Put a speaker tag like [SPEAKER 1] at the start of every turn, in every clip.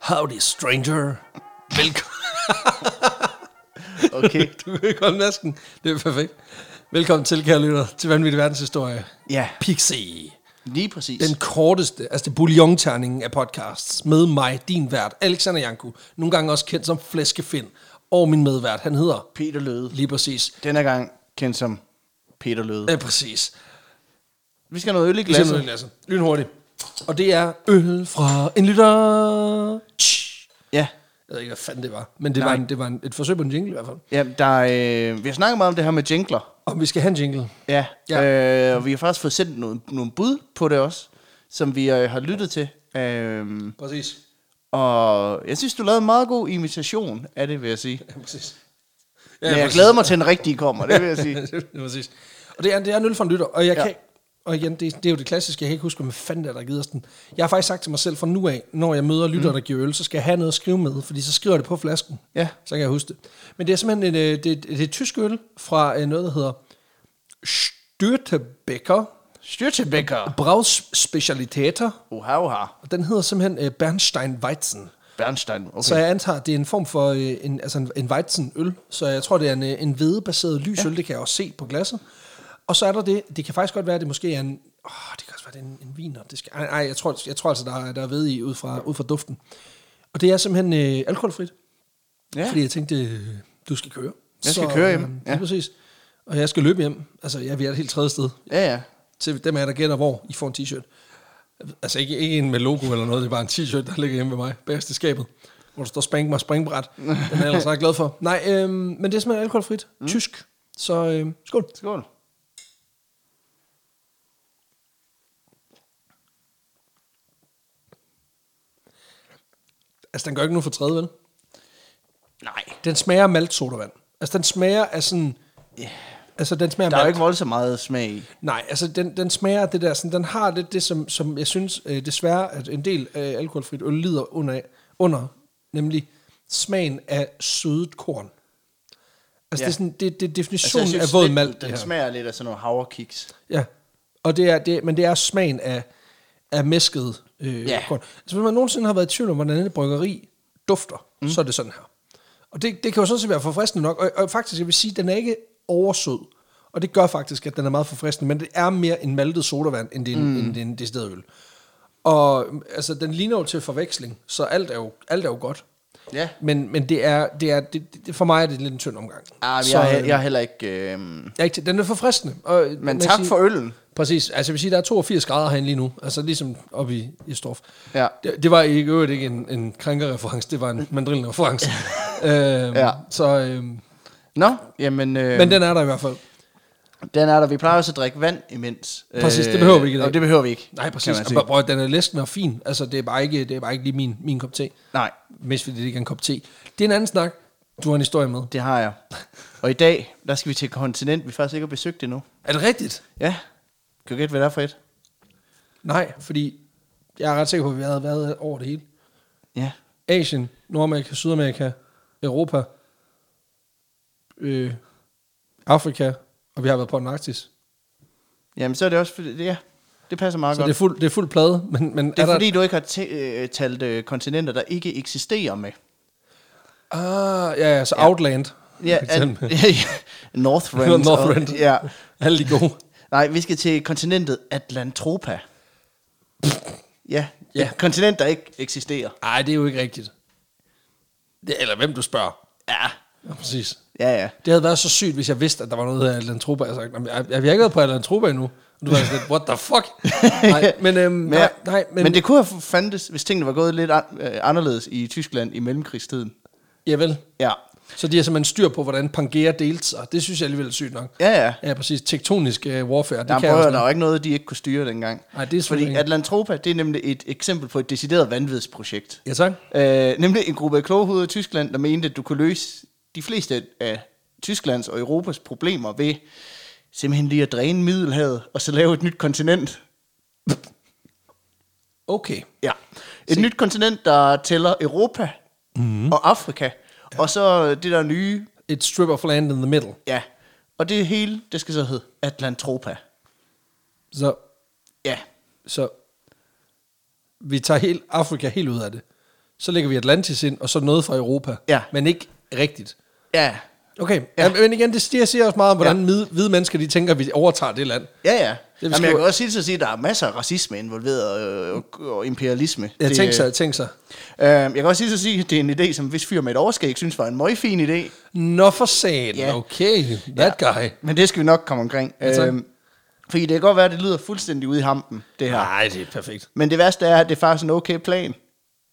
[SPEAKER 1] Howdy, stranger. Velkommen.
[SPEAKER 2] Okay.
[SPEAKER 1] du kan ikke holde masken. Det er perfekt. Velkommen til, kære lytter, til Vanvittig Verdenshistorie.
[SPEAKER 2] Ja.
[SPEAKER 1] Pixie.
[SPEAKER 2] Lige præcis.
[SPEAKER 1] Den korteste, altså det bouillon af podcasts, med mig, din vært, Alexander Janku, nogle gange også kendt som Flæskefind, og min medvært, han hedder
[SPEAKER 2] Peter Løde.
[SPEAKER 1] lige præcis.
[SPEAKER 2] Denne gang kendt som Peter Løde.
[SPEAKER 1] Ja, præcis.
[SPEAKER 2] Øh, Vi skal have noget øl i
[SPEAKER 1] Vi ser noget i
[SPEAKER 2] glasset.
[SPEAKER 1] glasset. Lynhurtigt. Og det er øl fra en lytter. Tsh.
[SPEAKER 2] Ja.
[SPEAKER 1] Jeg ved ikke, hvad fanden det var, men det
[SPEAKER 2] Nej.
[SPEAKER 1] var, en, det var en, et forsøg på en jingle i hvert fald.
[SPEAKER 2] ja der er, øh, vi har snakket meget om det her med jingler.
[SPEAKER 1] Om vi skal have en jingle.
[SPEAKER 2] Ja.
[SPEAKER 1] Ja.
[SPEAKER 2] Øh, og vi har faktisk fået sendt nogle, nogle bud på det også, som vi øh, har lyttet til. Øh,
[SPEAKER 1] Præcis.
[SPEAKER 2] og jeg synes, du lavede en meget god imitation af det, vil jeg sige.
[SPEAKER 1] Ja, præcis.
[SPEAKER 2] Ja, Men jeg glæder mig til, at den rigtige kommer, det vil jeg sige.
[SPEAKER 1] det er præcis. Og det er, det er en øl for en lytter, og jeg ja.
[SPEAKER 2] Ja.
[SPEAKER 1] kan... Og igen, det, det er jo det klassiske, jeg kan ikke huske, hvad fanden det er, der gider den. Jeg har faktisk sagt til mig selv fra nu af, når jeg møder lytter, mm. der giver øl, så skal jeg have noget at skrive med, fordi så skriver jeg det på flasken.
[SPEAKER 2] Ja.
[SPEAKER 1] Så kan jeg huske det. Men det er simpelthen et, øh, det, det, det er et tysk øl fra øh, noget, der hedder Styrtebækker
[SPEAKER 2] Styrtebækker.
[SPEAKER 1] Brausspecialiteter,
[SPEAKER 2] Uha, uha.
[SPEAKER 1] og den hedder simpelthen øh, Bernstein Weizen.
[SPEAKER 2] Bernstein. Okay.
[SPEAKER 1] Så jeg antager, at det er en form for øh, en, altså en, en Weizen-øl. Så jeg tror, det er en, øh, en hvedebaseret lysøl. Ja. Det kan jeg også se på glasset. Og så er der det. Det kan faktisk godt være, at det måske er en... Åh, det kan også være, det er en, en viner. Det skal, ej, ej, jeg tror, jeg tror altså, der er, der er ved i ud fra, ud fra duften. Og det er simpelthen øh, alkoholfrit. Ja.
[SPEAKER 2] ja.
[SPEAKER 1] Fordi jeg tænkte, øh, du skal køre.
[SPEAKER 2] Jeg skal køre hjem,
[SPEAKER 1] øh,
[SPEAKER 2] ja.
[SPEAKER 1] Ja. præcis. Og jeg skal løbe hjem. Altså, jeg er et helt tredje sted.
[SPEAKER 2] ja, ja.
[SPEAKER 1] Til dem af jer, der gætter, hvor I får en t-shirt. Altså ikke, ikke en med logo eller noget, det er bare en t-shirt, der ligger hjemme ved mig, bagerst i skabet, hvor der står spring mig springbræt. Den er jeg ellers ret glad for. Nej, øhm, men det er simpelthen alkoholfrit, mm. tysk. Så øhm, skål.
[SPEAKER 2] Skål.
[SPEAKER 1] Altså den gør ikke noget for tredje, vel?
[SPEAKER 2] Nej.
[SPEAKER 1] Den smager af maltsodavand. Altså den smager af sådan...
[SPEAKER 2] Ja.
[SPEAKER 1] Altså den smager af
[SPEAKER 2] Der er jo
[SPEAKER 1] malt.
[SPEAKER 2] ikke voldsomt meget smag i.
[SPEAKER 1] Nej, altså den, den smager af det der, sådan, den har lidt det, som, som jeg synes øh, desværre, at en del øh, alkoholfrit øl lider under, af- under, nemlig smagen af sødet korn. Altså ja.
[SPEAKER 2] Ja.
[SPEAKER 1] det er sådan, det, det er
[SPEAKER 2] Altså,
[SPEAKER 1] definitionen
[SPEAKER 2] jeg
[SPEAKER 1] altså,
[SPEAKER 2] synes
[SPEAKER 1] af våd
[SPEAKER 2] lidt,
[SPEAKER 1] malt.
[SPEAKER 2] Den
[SPEAKER 1] det her.
[SPEAKER 2] smager lidt af sådan nogle havrekiks.
[SPEAKER 1] Ja, og det er, det, men det er smagen af, af mæsket øh, ja.
[SPEAKER 2] Ja.
[SPEAKER 1] korn. Altså hvis man nogensinde har været i tvivl om, hvordan et bryggeri dufter, mm. så er det sådan her. Og det, det kan jo sådan set være forfriskende nok, og, og faktisk, jeg vil sige, den er ikke oversød. Og det gør faktisk, at den er meget forfriskende, men det er mere en maltet sodavand, end det er en, mm. end det er en decideret øl. Og altså, den ligner jo til forveksling, så alt er jo, alt er jo godt.
[SPEAKER 2] Ja.
[SPEAKER 1] Men, men det er, det er det, det, for mig er det lidt en tynd omgang.
[SPEAKER 2] Ah,
[SPEAKER 1] Så,
[SPEAKER 2] jeg, er,
[SPEAKER 1] øh,
[SPEAKER 2] jeg er heller ikke... Øh,
[SPEAKER 1] jeg er ikke til- den er forfriskende. Og, man
[SPEAKER 2] men tak
[SPEAKER 1] siger-
[SPEAKER 2] for øllen.
[SPEAKER 1] Præcis. Altså, jeg vil sige, der er 82 grader herinde lige nu. Altså, ligesom oppe i, i Storf.
[SPEAKER 2] Ja.
[SPEAKER 1] Det, det var i øvrigt ikke en, en krænkerreference, det var en mandrillenreference. øhm,
[SPEAKER 2] Ja.
[SPEAKER 1] Så, øhm,
[SPEAKER 2] Nå, jamen... Øh,
[SPEAKER 1] men
[SPEAKER 2] men den,
[SPEAKER 1] den er der i hvert fald.
[SPEAKER 2] den er der. Vi plejer også at drikke vand imens. Øh,
[SPEAKER 1] Præcis, det behøver vi ikke i dag.
[SPEAKER 2] Og det behøver vi ikke.
[SPEAKER 1] Nej,
[SPEAKER 2] kan
[SPEAKER 1] præcis.
[SPEAKER 2] man
[SPEAKER 1] Og
[SPEAKER 2] sige.
[SPEAKER 1] Bror, den er læskende og fin. Altså, det er bare ikke, det er bare ikke lige min, min kop te.
[SPEAKER 2] Nej,
[SPEAKER 1] Mest fordi det ikke er en kop te. Det er en anden snak. Du har en historie med.
[SPEAKER 2] det har jeg. Og i dag, der skal vi til et kontinent, vi faktisk ikke har besøgt endnu.
[SPEAKER 1] Er det rigtigt?
[SPEAKER 2] Ja. Kan du gætte, hvad der er for et?
[SPEAKER 1] Nej, fordi jeg er ret sikker på, at vi havde været over det hele.
[SPEAKER 2] Ja.
[SPEAKER 1] Asien, Nordamerika, Sydamerika, Europa, øh, Afrika, og vi har været på den arktis.
[SPEAKER 2] Jamen, så er det også... Fordi, ja, det passer meget
[SPEAKER 1] Så
[SPEAKER 2] godt.
[SPEAKER 1] det er, fuld, det er fuld plade, men, men
[SPEAKER 2] det er
[SPEAKER 1] der...
[SPEAKER 2] fordi, du ikke har tæ- øh, talt øh, kontinenter, der ikke eksisterer med.
[SPEAKER 1] Ah, ja, ja, så ja. Outland.
[SPEAKER 2] Ja,
[SPEAKER 1] for
[SPEAKER 2] at,
[SPEAKER 1] eksempel.
[SPEAKER 2] Northrend. og-
[SPEAKER 1] Northrend.
[SPEAKER 2] Ja.
[SPEAKER 1] Alle de gode.
[SPEAKER 2] Nej, vi skal til kontinentet Atlantropa. Ja,
[SPEAKER 1] Ja.
[SPEAKER 2] ja. et kontinent, der ikke eksisterer.
[SPEAKER 1] Nej, det er jo ikke rigtigt. Det, eller hvem du spørger.
[SPEAKER 2] Ja,
[SPEAKER 1] Ja, præcis.
[SPEAKER 2] ja, ja.
[SPEAKER 1] Det havde været så sygt, hvis jeg vidste, at der var noget af Atlantropa. Jeg havde sagt, "Nå, men jeg, jeg, jeg har ikke været på Atlantropa endnu. Og du var sådan lidt, what the fuck? Nej, men, øhm, men, nej, nej, men,
[SPEAKER 2] men, men det kunne have fandtes, hvis tingene var gået lidt an- øh, anderledes i Tyskland i mellemkrigstiden.
[SPEAKER 1] ja vel.
[SPEAKER 2] Ja,
[SPEAKER 1] Så de har simpelthen styr på, hvordan Pangea delte sig. Det synes jeg alligevel er sygt nok.
[SPEAKER 2] ja, ja.
[SPEAKER 1] Ja, præcis. Tektonisk uh, warfare. Det kan
[SPEAKER 2] Jamen, prøv, at
[SPEAKER 1] jeg
[SPEAKER 2] høre,
[SPEAKER 1] også
[SPEAKER 2] der
[SPEAKER 1] noget.
[SPEAKER 2] var ikke noget, de ikke kunne styre dengang.
[SPEAKER 1] Nej, det er selvfølgelig
[SPEAKER 2] Fordi
[SPEAKER 1] ikke.
[SPEAKER 2] Atlantropa, det er nemlig et eksempel på et decideret vanvidsprojekt.
[SPEAKER 1] Ja, tak.
[SPEAKER 2] Øh, nemlig en gruppe af kloge hoveder i Tyskland, der mente, at du kunne løse de fleste af Tysklands og Europas problemer ved simpelthen lige at dræne Middelhavet og så lave et nyt kontinent.
[SPEAKER 1] Okay.
[SPEAKER 2] Ja. Et nyt kontinent, der tæller Europa mm-hmm. og Afrika, ja. og så det der nye,
[SPEAKER 1] Et strip of land in the middle.
[SPEAKER 2] ja. Og det hele, det skal så hedde Atlantropa.
[SPEAKER 1] Så,
[SPEAKER 2] Ja.
[SPEAKER 1] så vi tager helt Afrika helt ud af det. så lægger vi Atlantis ind, og så noget fra Europa.
[SPEAKER 2] Ja.
[SPEAKER 1] Men ikke rigtigt.
[SPEAKER 2] Ja,
[SPEAKER 1] Okay, ja. men igen, det siger, siger også meget om, hvordan ja. hvide mennesker de tænker, at vi overtager det land.
[SPEAKER 2] ja, ja.
[SPEAKER 1] vi
[SPEAKER 2] Jamen, jeg
[SPEAKER 1] skriver-
[SPEAKER 2] kan også sige til at sige, at der er masser af racisme involveret øh, og, og imperialisme.
[SPEAKER 1] Jeg
[SPEAKER 2] Det-
[SPEAKER 1] tænker så, jeg tænker så.
[SPEAKER 2] Øh, jeg kan også lige så sige, at det er en idé, som hvis fyr med et overskæg synes var en meget fin idé,
[SPEAKER 1] Nå for sagen,
[SPEAKER 2] Ja.
[SPEAKER 1] ja. okay, that ja. guy.
[SPEAKER 2] men det skal vi nok komme omkring.
[SPEAKER 1] Ja, tak.
[SPEAKER 2] Øhm, fordi det kan godt være, at det lyder fuldstændig ude i hampen, det her.
[SPEAKER 1] Nej, det er perfekt.
[SPEAKER 2] Men det værste er, at det er faktisk en okay plan.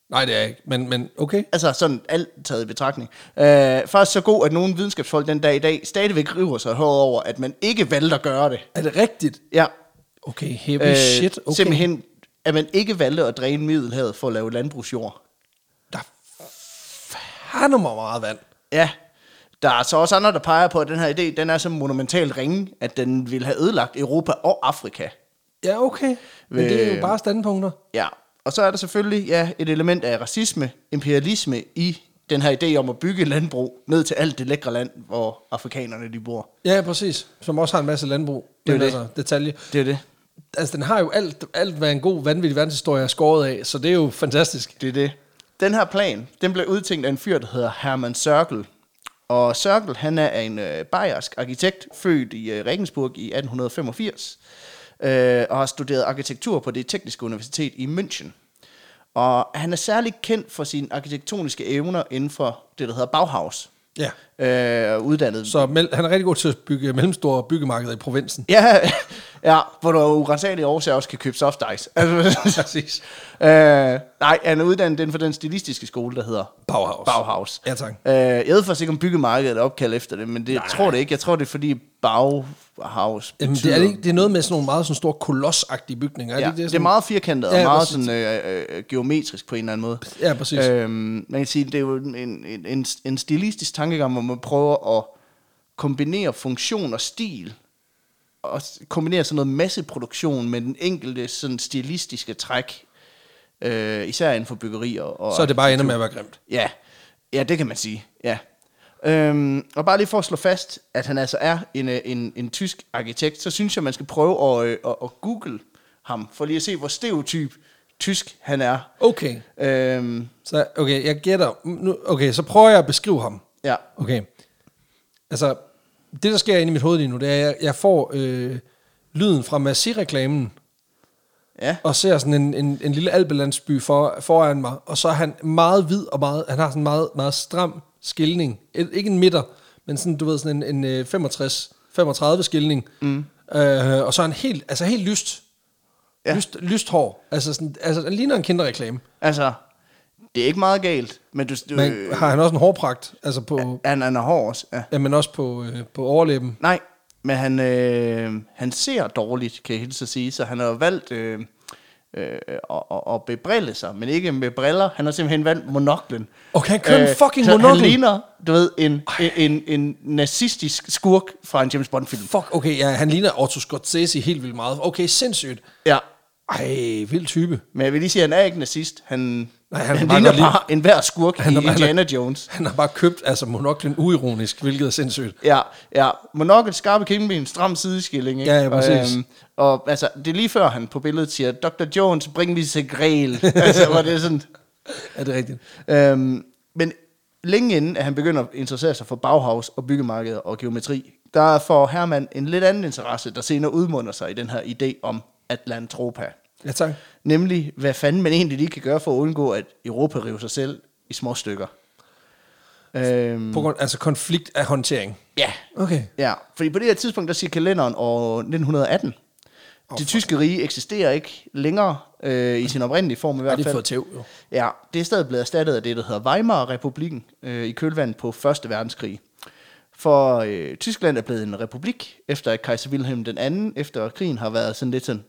[SPEAKER 1] Nej, det er jeg ikke, men, men okay.
[SPEAKER 2] Altså sådan alt taget i betragtning. Øh, faktisk så god, at nogle videnskabsfolk den dag i dag stadigvæk river sig hårdt over, at man ikke valgte at gøre det.
[SPEAKER 1] Er det rigtigt?
[SPEAKER 2] Ja.
[SPEAKER 1] Okay, heavy øh, shit, okay.
[SPEAKER 2] Simpelthen, at man ikke valgte at dræne middelhavet for at lave landbrugsjord.
[SPEAKER 1] Der har nummer meget vand.
[SPEAKER 2] Ja. Der er så også andre, der peger på, at den her idé, den er så monumentalt ringe, at den ville have ødelagt Europa og Afrika.
[SPEAKER 1] Ja, okay. Men øh. det er jo bare standpunkter.
[SPEAKER 2] Ja, og så er der selvfølgelig ja, et element af racisme, imperialisme i den her idé om at bygge landbrug ned til alt det lækre land, hvor afrikanerne de bor.
[SPEAKER 1] Ja, præcis. Som også har en masse landbrug.
[SPEAKER 2] Det er jo
[SPEAKER 1] Men
[SPEAKER 2] det.
[SPEAKER 1] Altså, detalje.
[SPEAKER 2] Det er det.
[SPEAKER 1] Altså, den har jo alt, alt hvad en god, vanvittig verdenshistorie er skåret af, så det er jo fantastisk.
[SPEAKER 2] Det er det. Den her plan, den blev udtænkt af en fyr, der hedder Hermann Sørkel. Og Sørkel, han er en øh, bayersk arkitekt, født i øh, Regensburg i 1885, øh, og har studeret arkitektur på det tekniske universitet i München. Og han er særligt kendt for sine arkitektoniske evner inden for det, der hedder Bauhaus.
[SPEAKER 1] Ja.
[SPEAKER 2] Øh, og uddannet
[SPEAKER 1] Så mel- han er rigtig god til at bygge mellemstore byggemarkeder i provinsen.
[SPEAKER 2] Ja, ja hvor du af urensagelige årsager også kan købe soft ice. Altså,
[SPEAKER 1] Præcis.
[SPEAKER 2] øh, nej, han er uddannet inden for den stilistiske skole, der hedder
[SPEAKER 1] Bauhaus.
[SPEAKER 2] Bauhaus.
[SPEAKER 1] Ja, tak.
[SPEAKER 2] Øh, jeg ved faktisk ikke, om byggemarkedet er opkaldt efter det, men det, jeg tror det ikke. Jeg tror, det er fordi Bauhaus
[SPEAKER 1] Jamen, det, er, det, ikke- det er noget med sådan nogle meget sådan store kolossagtige bygninger. Er
[SPEAKER 2] Ja,
[SPEAKER 1] det, ikke
[SPEAKER 2] det,
[SPEAKER 1] det,
[SPEAKER 2] det er meget firkantet og
[SPEAKER 1] Ja,
[SPEAKER 2] meget
[SPEAKER 1] præcis.
[SPEAKER 2] sådan, øh, øh, geometrisk på en eller anden måde.
[SPEAKER 1] Ja, præcis.
[SPEAKER 2] Øhm, man kan sige, det er jo en, en, en, en stilistisk tankegang, hvor man prøver at kombinere funktion og stil, og s- kombinere sådan noget masseproduktion med den enkelte sådan stilistiske træk, øh, især inden for byggerier. Og,
[SPEAKER 1] Så er det bare ender med at være grimt.
[SPEAKER 2] Ja, ja det kan man sige, ja. Øhm, og bare lige for at slå fast, at han altså er en, øh, en, en tysk arkitekt, så synes jeg, man skal prøve at, øh, at, at google ham, for lige at se, hvor stereotyp tysk han er.
[SPEAKER 1] Okay,
[SPEAKER 2] Øhm,
[SPEAKER 1] så okay, jeg gætter. Nu, okay, så prøver jeg at beskrive ham.
[SPEAKER 2] ja,
[SPEAKER 1] Okay. Altså, det der sker inde i mit hoved lige nu, det er, at jeg, jeg får øh, lyden fra Massi-reklamen,
[SPEAKER 2] ja,
[SPEAKER 1] og ser sådan en, en, en lille alpelandsby for, foran mig, og så er han meget hvid, og meget, han har sådan en meget, meget stram skilning. Et, ikke en midter, men sådan, du ved, sådan en, en øh, 65, 35 skilning. Mm. Øh, og så er han helt, altså helt lyst.
[SPEAKER 2] Ja.
[SPEAKER 1] Ja. Lyst, lyst hår. Altså, sådan, altså, han ligner en kinderreklame.
[SPEAKER 2] altså, det er ikke meget galt, men du, du
[SPEAKER 1] Men
[SPEAKER 2] øh,
[SPEAKER 1] har han også en hårpragt? Altså på, ja.
[SPEAKER 2] han, han er hård også. Ja.
[SPEAKER 1] ja men også på, øh, på overlæben.
[SPEAKER 2] Nej, men han, øh, han ser dårligt, kan jeg hilse at sige, så han har valgt øh, øh, at, at, at bebrille sig, men ikke med briller. Han har simpelthen valgt monoklen. Øh,
[SPEAKER 1] Okay, han kører en fucking
[SPEAKER 2] så
[SPEAKER 1] monokel.
[SPEAKER 2] han ligner, du ved, en, en, en, en nazistisk skurk fra en James Bond-film.
[SPEAKER 1] Fuck, okay, ja, han ligner Otto Scorsese helt vildt meget. Okay, sindssygt.
[SPEAKER 2] Ja.
[SPEAKER 1] Ej, vild type.
[SPEAKER 2] Men jeg vil lige sige, at han er ikke nazist. Han,
[SPEAKER 1] Nej,
[SPEAKER 2] Nej,
[SPEAKER 1] han kan
[SPEAKER 2] han, han
[SPEAKER 1] bare
[SPEAKER 2] ligner
[SPEAKER 1] godt lide-
[SPEAKER 2] bare enhver skurk han,
[SPEAKER 1] Han
[SPEAKER 2] i
[SPEAKER 1] er- han er-
[SPEAKER 2] Indiana Jones.
[SPEAKER 1] Han har bare købt altså monoklen uironisk, hvilket er sindssygt.
[SPEAKER 2] Ja, ja. Monokkel, skarpe kindben, stram sideskilling. Ikke?
[SPEAKER 1] Ja, ja, præcis.
[SPEAKER 2] Og, øhm, og altså, det er lige før han på billedet siger, Dr. Jones, bring vi sig grel. altså, hvor det er sådan...
[SPEAKER 1] Er det rigtigt?
[SPEAKER 2] Øhm, men længe inden, at han begynder at interessere sig for Bauhaus og byggemarkedet og geometri, der får Hermann en lidt anden interesse, der senere udmunder sig i den her idé om Atlantropa.
[SPEAKER 1] Ja, tak.
[SPEAKER 2] Nemlig, hvad fanden man egentlig lige kan gøre for at undgå, at Europa river sig selv i små stykker. Øhm,
[SPEAKER 1] På grund, altså konflikt af håndtering.
[SPEAKER 2] ja,
[SPEAKER 1] Okay.
[SPEAKER 2] Ja, fordi på det her tidspunkt, der siger kalenderen år 1918. Oh, det tyske rige eksisterer ikke længere øh, i sin oprindelige form i
[SPEAKER 1] Har
[SPEAKER 2] hvert
[SPEAKER 1] det
[SPEAKER 2] fald.
[SPEAKER 1] fået tæv, jo.
[SPEAKER 2] Ja, det er stadig blevet erstattet af det, der hedder Weimar-republiken øh, i kølvandet på Første verdenskrig. For øh, Tyskland er blevet en republik, efter at kejser Wilhelm den anden, efter krigen har været sådan lidt sådan,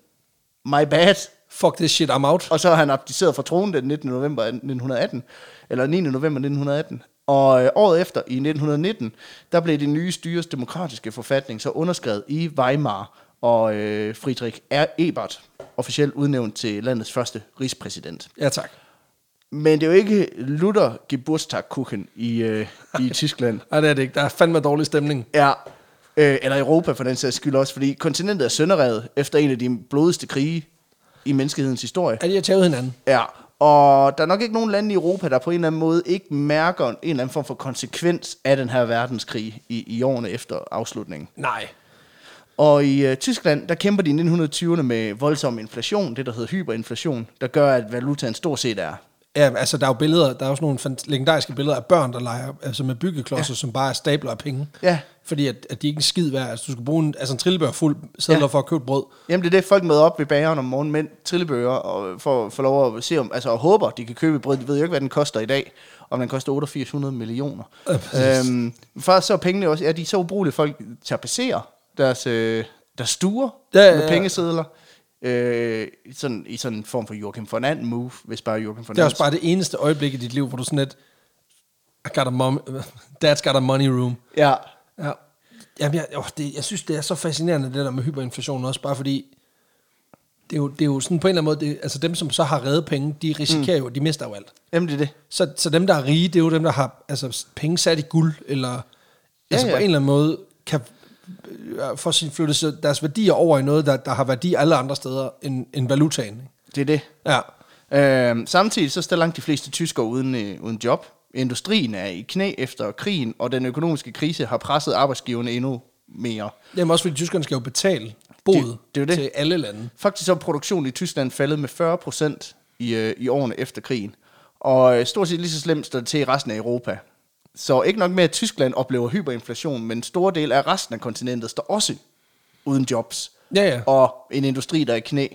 [SPEAKER 2] my bad,
[SPEAKER 1] Fuck this shit, I'm out.
[SPEAKER 2] og så har han abdiceret fra tronen den 19. november 1918, eller 9. november 1918. Og øh, året efter, i 1919, der blev det nye styres demokratiske forfatning så underskrevet i Weimar, og øh, Friedrich R. Ebert officielt udnævnt til landets første rigspræsident.
[SPEAKER 1] Ja, tak.
[SPEAKER 2] Men det er jo ikke Luther Geburtstagkuchen i, øh, i Tyskland.
[SPEAKER 1] Nej, det er det ikke. Der er fandme dårlig stemning.
[SPEAKER 2] Ja, øh, eller Europa for den sags skyld også, fordi kontinentet er sønderrevet efter en af de blodigste krige i menneskehedens historie.
[SPEAKER 1] Er de har tævet hinanden?
[SPEAKER 2] Ja, Og der er nok ikke nogen lande i Europa, der på en eller anden måde ikke mærker en eller anden form for konsekvens af den her verdenskrig i, i årene efter afslutningen.
[SPEAKER 1] Nej.
[SPEAKER 2] Og i øh, Tyskland, der kæmper de i 1920'erne med voldsom inflation, det der hedder hyperinflation, der gør, at valutaen stort set er
[SPEAKER 1] Ja, altså der er jo billeder, der er også nogle fant- legendariske billeder af børn, der leger altså med byggeklodser, ja. som bare er stabler af penge.
[SPEAKER 2] Ja.
[SPEAKER 1] Fordi at, at de ikke er en skid værd. Altså du skal bruge en, altså en trillebør fuld sædler
[SPEAKER 2] Ja.
[SPEAKER 1] ja. for at købe brød.
[SPEAKER 2] Jamen det er det, folk møder op ved bageren om morgenen, mænd trillebøger, og for at få lov at se om, altså og håber, de kan købe et brød. De ved jo ikke, hvad den koster i dag, om den koster 8800 millioner.
[SPEAKER 1] Ja, præcis.
[SPEAKER 2] øhm, for så er pengene også, ja, de er så ubrugelige, folk tapasserer deres, øh, deres stuer
[SPEAKER 1] Ja, ja,
[SPEAKER 2] med
[SPEAKER 1] ja.
[SPEAKER 2] pengesedler. Øh, sådan, I sådan en form for Joachim von Anden move, hvis bare Joachim von
[SPEAKER 1] Det er
[SPEAKER 2] Anden.
[SPEAKER 1] også bare det eneste øjeblik i dit liv, hvor du sådan lidt, I got a mom, dad's got a money room.
[SPEAKER 2] Ja,
[SPEAKER 1] Ja. Jamen, jeg, åh, det, jeg synes, det er så fascinerende, det der med hyperinflation også, bare fordi, det er jo, det er jo sådan på en eller anden måde, det, altså dem, som så har reddet penge, de risikerer mm. jo, de mister jo alt.
[SPEAKER 2] jamen det er det.
[SPEAKER 1] Så, så dem, der er rige, det er jo dem, der har altså, s- penge sat i guld, eller ja, altså,
[SPEAKER 2] ja.
[SPEAKER 1] på en eller anden måde kan øh, få sin flytte så deres værdier over i noget, der, der har værdi alle andre steder end, end valutaen. Ikke?
[SPEAKER 2] Det er det.
[SPEAKER 1] Ja.
[SPEAKER 2] Øhm, samtidig så står langt de fleste tyskere uden, øh, uden job. Industrien er i knæ efter krigen, og den økonomiske krise har presset arbejdsgiverne endnu mere.
[SPEAKER 1] Jamen også fordi tyskerne skal jo betale boet
[SPEAKER 2] Det- det er jo det.
[SPEAKER 1] til alle lande.
[SPEAKER 2] Faktisk så er produktionen i Tyskland faldet med 40 procent i, øh, i årene efter krigen. Og øh, stort set lige så slemt står det til i resten af Europa. Så ikke nok med, at Tyskland oplever hyperinflation, men en stor del af resten af kontinentet står også uden jobs.
[SPEAKER 1] Ja, ja.
[SPEAKER 2] Og en industri, der er i knæ.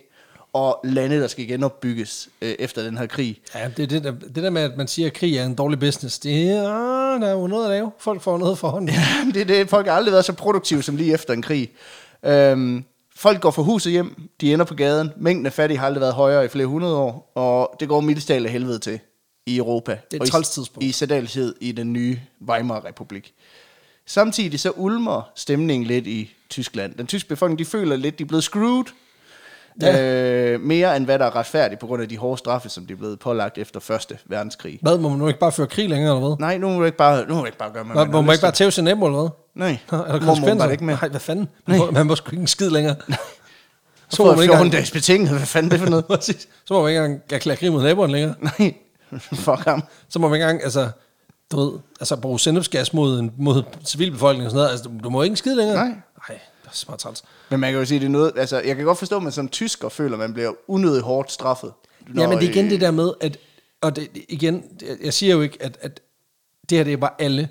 [SPEAKER 2] Og lande, der skal genopbygges øh, efter den her krig.
[SPEAKER 1] Ja, det, er det, der, det der med, at man siger, at krig er en dårlig business, det er, ah, der er jo noget at lave. Folk får noget for hånden. Ja.
[SPEAKER 2] Jamen, det, er det, folk har aldrig været så produktive som lige efter en krig. Øhm, folk går fra huset hjem, de ender på gaden, mængden af fattige har aldrig været højere i flere hundrede år, og det går mildestalt af helvede til i Europa.
[SPEAKER 1] Det er et
[SPEAKER 2] og i-
[SPEAKER 1] træls tidspunkt.
[SPEAKER 2] I særdeleshed i den nye Weimar-republik. Samtidig så ulmer stemningen lidt i Tyskland. Den tyske befolkning, de føler lidt, de er blevet screwed.
[SPEAKER 1] Ja.
[SPEAKER 2] Øh, mere end hvad der er retfærdigt på grund af de hårde straffe, som de er blevet pålagt efter Første verdenskrig.
[SPEAKER 1] Hvad, må man nu ikke bare føre krig længere, eller hvad?
[SPEAKER 2] Nej, nu må du ikke bare, nu må du ikke bare gøre, hvad
[SPEAKER 1] Hvad, må
[SPEAKER 2] har
[SPEAKER 1] man
[SPEAKER 2] lyst
[SPEAKER 1] ikke bare
[SPEAKER 2] til.
[SPEAKER 1] tæve sin nabo, eller hvad?
[SPEAKER 2] Nej,
[SPEAKER 1] Nå, Er der
[SPEAKER 2] Mormor var
[SPEAKER 1] konsekvenser?
[SPEAKER 2] det ikke med.
[SPEAKER 1] Nej, hvad fanden? Man må, man må sgu ikke en skid længere.
[SPEAKER 2] Så får jeg
[SPEAKER 1] ikke
[SPEAKER 2] 14
[SPEAKER 1] engang-
[SPEAKER 2] dages betinget. Hvad fanden er det for noget?
[SPEAKER 1] Præcis. Så må man ikke engang erklære krig mod naboen længere.
[SPEAKER 2] Nej, fuck ham.
[SPEAKER 1] Så må man ikke engang, altså, du ved, altså bruge sendepsgas mod, en- mod civilbefolkningen og sådan noget. Altså, du- du må ikke skide længere.
[SPEAKER 2] Nej.
[SPEAKER 1] Nej, det er så bare træls.
[SPEAKER 2] Men man kan jo sige, det er noget... Altså, jeg kan godt forstå, at man som tysker føler, at man bliver unødigt hårdt straffet.
[SPEAKER 1] Nå, øh, ja, men det er igen det der med, at, og det, det- igen, jeg- jeg siger jo ikke, at, at det her, det er bare alle.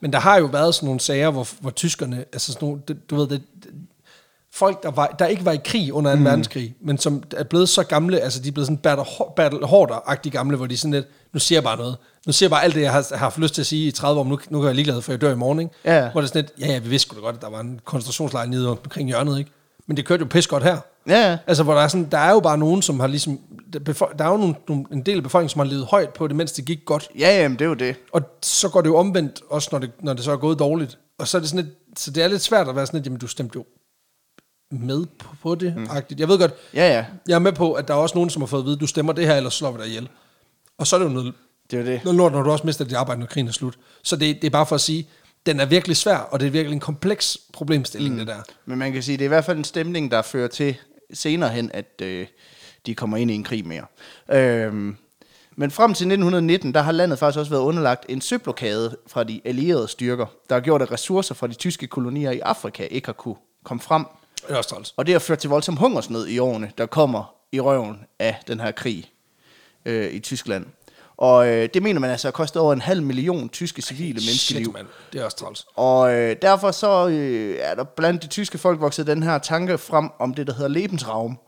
[SPEAKER 1] Men der har jo været sådan nogle sager, hvor, hvor tyskerne, altså sådan nogle, det- du ved, det, det- folk, der, var, der ikke var i krig under 2. Mm. verdenskrig, men som er blevet så gamle, altså de er blevet sådan battle, battle hoarder-agtige gamle, hvor de sådan lidt, nu siger jeg bare noget. Nu siger jeg bare alt det, jeg har, har haft lyst til at sige i 30 år, men nu, nu kan jeg ligeglad, for jeg dør i morgen, ikke?
[SPEAKER 2] Ja.
[SPEAKER 1] Hvor det er sådan lidt, ja, ja, vi vidste sgu da godt, at der var en koncentrationslejr nede omkring hjørnet, ikke? Men det kørte jo pis godt her.
[SPEAKER 2] Ja, ja.
[SPEAKER 1] Altså, hvor der er, sådan, der er jo bare nogen, som har ligesom... der befo- Der er jo nogle, nogle, en del af befolkningen, som har levet højt på det, mens det gik godt.
[SPEAKER 2] Ja, jamen, det er jo det.
[SPEAKER 1] Og så går det jo omvendt, også når det, når det så er gået dårligt. Og så er det sådan lidt, så det er lidt svært at være sådan lidt, jamen du stemte jo med på, på det, mm. agtigt. Jeg ved godt,
[SPEAKER 2] Ja, ja.
[SPEAKER 1] jeg er med på, at der er også nogen, som har fået at vide, du stemmer det her, eller slår vi dig ihjel. Og så er det jo noget,
[SPEAKER 2] Det er jo det.
[SPEAKER 1] noget lort, når du også mister dit arbejde, når krigen er slut. Så det, det er bare for at sige, den er virkelig svær, og det er virkelig en kompleks problemstilling, mm. det der.
[SPEAKER 2] Men man kan sige, det er i hvert fald en stemning, der fører til senere hen, at øh, de kommer ind i en krig mere. Øhm, men frem til 1919, der har landet faktisk også været underlagt en søblokade fra de allierede styrker, der har gjort, at ressourcer fra de tyske kolonier i Afrika ikke har kunne komme frem.
[SPEAKER 1] Det er også træls.
[SPEAKER 2] Og det har ført til voldsom hungersnød i årene, der kommer i røven af den her krig øh, i Tyskland. Og øh, det mener man altså har kostet over en halv million tyske civile
[SPEAKER 1] Shit,
[SPEAKER 2] menneskeliv.
[SPEAKER 1] mand. Det er også træls.
[SPEAKER 2] Og øh, derfor så øh, er der blandt de tyske folk vokset den her tanke frem om det, der hedder Lebensraum.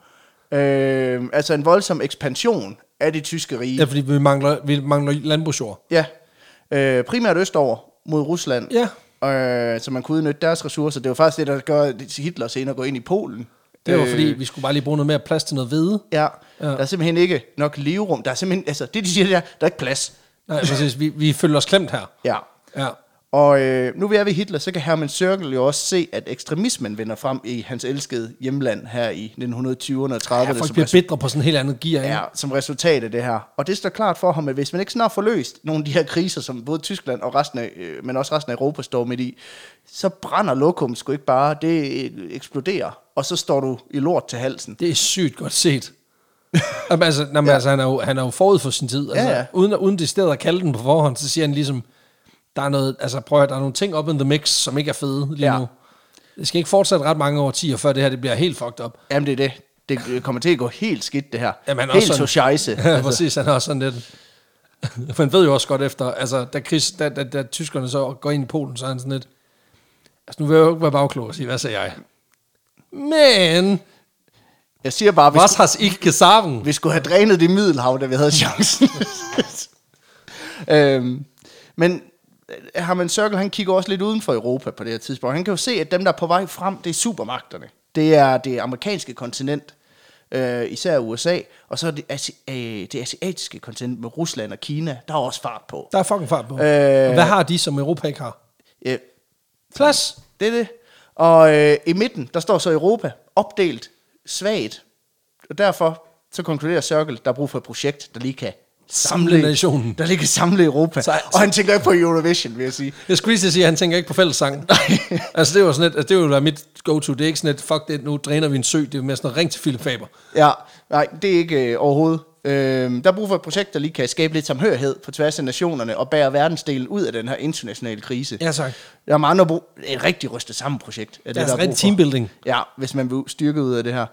[SPEAKER 2] Øh, altså en voldsom ekspansion af det tyske rige.
[SPEAKER 1] Ja, fordi vi mangler, vi mangler landbrugsjord.
[SPEAKER 2] Ja. Øh, primært østover mod Rusland.
[SPEAKER 1] Ja.
[SPEAKER 2] Øh, så man kunne udnytte deres ressourcer. Det var faktisk det, der gør Hitler senere går ind i Polen.
[SPEAKER 1] Det var
[SPEAKER 2] Øh,
[SPEAKER 1] fordi, vi skulle bare lige bruge noget mere plads til noget hvede.
[SPEAKER 2] Ja,
[SPEAKER 1] Ja.
[SPEAKER 2] der er simpelthen ikke nok leverum. Der er simpelthen, altså det de siger, det er, der er ikke plads.
[SPEAKER 1] Nej, præcis. Vi, vi føler os klemt her.
[SPEAKER 2] Ja.
[SPEAKER 1] Ja.
[SPEAKER 2] Og øh, nu vi er ved Hitler, så kan Hermann Sørgel jo også se, at ekstremismen vinder frem i hans elskede hjemland her i 1920'erne og 30'erne.
[SPEAKER 1] ja
[SPEAKER 2] som
[SPEAKER 1] folk bliver
[SPEAKER 2] resu-
[SPEAKER 1] bedre på sådan en helt andet gear. Ja.
[SPEAKER 2] ja, som resultat af det her. Og det står klart for ham, at hvis man ikke snart får løst nogle af de her kriser, som både Tyskland og resten af, øh, men også resten af Europa står midt i, så brænder lokum sgu ikke bare, det øh, eksploderer, og så står du i lort til halsen.
[SPEAKER 1] Det er sygt godt set. Jamen, altså, jamen, ja. altså han, er jo, han er jo forud for sin tid. Altså,
[SPEAKER 2] Ja, ja.
[SPEAKER 1] Uden, uden det sted at kalde den på forhånd, så siger han ligesom, der er, noget, altså, prøv at, høre, der er nogle ting op in the mix, som ikke er fede lige
[SPEAKER 2] Ja.
[SPEAKER 1] ja. nu. Det skal ikke fortsætte ret mange årtier, før det her det bliver helt fucked up.
[SPEAKER 2] Jamen, det er det. Det kommer til at gå helt skidt, det her.
[SPEAKER 1] Jamen, han er
[SPEAKER 2] helt
[SPEAKER 1] også
[SPEAKER 2] så scheisse.
[SPEAKER 1] Ja, altså. præcis, han er også sådan lidt... Man ved jo også godt efter, altså, da, Chris, da, da, da tyskerne så går ind i Polen, så er han sådan lidt... Altså, nu vil jeg jo ikke være bagklog og sige, hvad sagde jeg? Men,
[SPEAKER 2] Jeg siger bare, vi,
[SPEAKER 1] was
[SPEAKER 2] skulle,
[SPEAKER 1] has ich gesagt?
[SPEAKER 2] vi skulle have drænet det middelhav, da vi havde chancen. øhm, men øh, Herman Circle, han kigger også lidt uden for Europa på det her tidspunkt. Han kan jo se, at dem, der er på vej frem, det er supermagterne. Det er det amerikanske kontinent, øh, især USA, og så er det, asi- øh, det asiatiske kontinent med Rusland og Kina, der er også fart på.
[SPEAKER 1] Der er fucking fart på. Øh.
[SPEAKER 2] Øh.
[SPEAKER 1] Hvad har de, som Europa ikke har?
[SPEAKER 2] Øh,
[SPEAKER 1] Plads.
[SPEAKER 2] Det er det. Og øh, i midten, der står så Europa, opdelt, svagt. Og derfor, så konkluderer Circle, der er brug for et projekt, der lige kan
[SPEAKER 1] Samle nationen.
[SPEAKER 2] Der lige kan samle Europa. Så,
[SPEAKER 1] Så-
[SPEAKER 2] og han tænker ikke på Eurovision, vil jeg sige.
[SPEAKER 1] Jeg skulle lige til at sige, at han tænker ikke på fællessang. altså, det var sådan lidt, altså, det ville være mit go-to. Det er ikke sådan lidt, fuck det, nu dræner vi en sø. Det er mere sådan noget, ring til Philip Faber.
[SPEAKER 2] Ja, nej, det er ikke øh, overhovedet. Øh, der er brug for et projekt, der lige kan skabe lidt samhørighed på tværs af nationerne og bære verdensdelen ud af den her internationale krise.
[SPEAKER 1] Ja, tak.
[SPEAKER 2] Der er med andre brug, et rigtig rystet sammen projekt. Er
[SPEAKER 1] Det er altså
[SPEAKER 2] brug
[SPEAKER 1] rent
[SPEAKER 2] for.
[SPEAKER 1] teambuilding.
[SPEAKER 2] Ja, hvis man vil styrke ud af det her.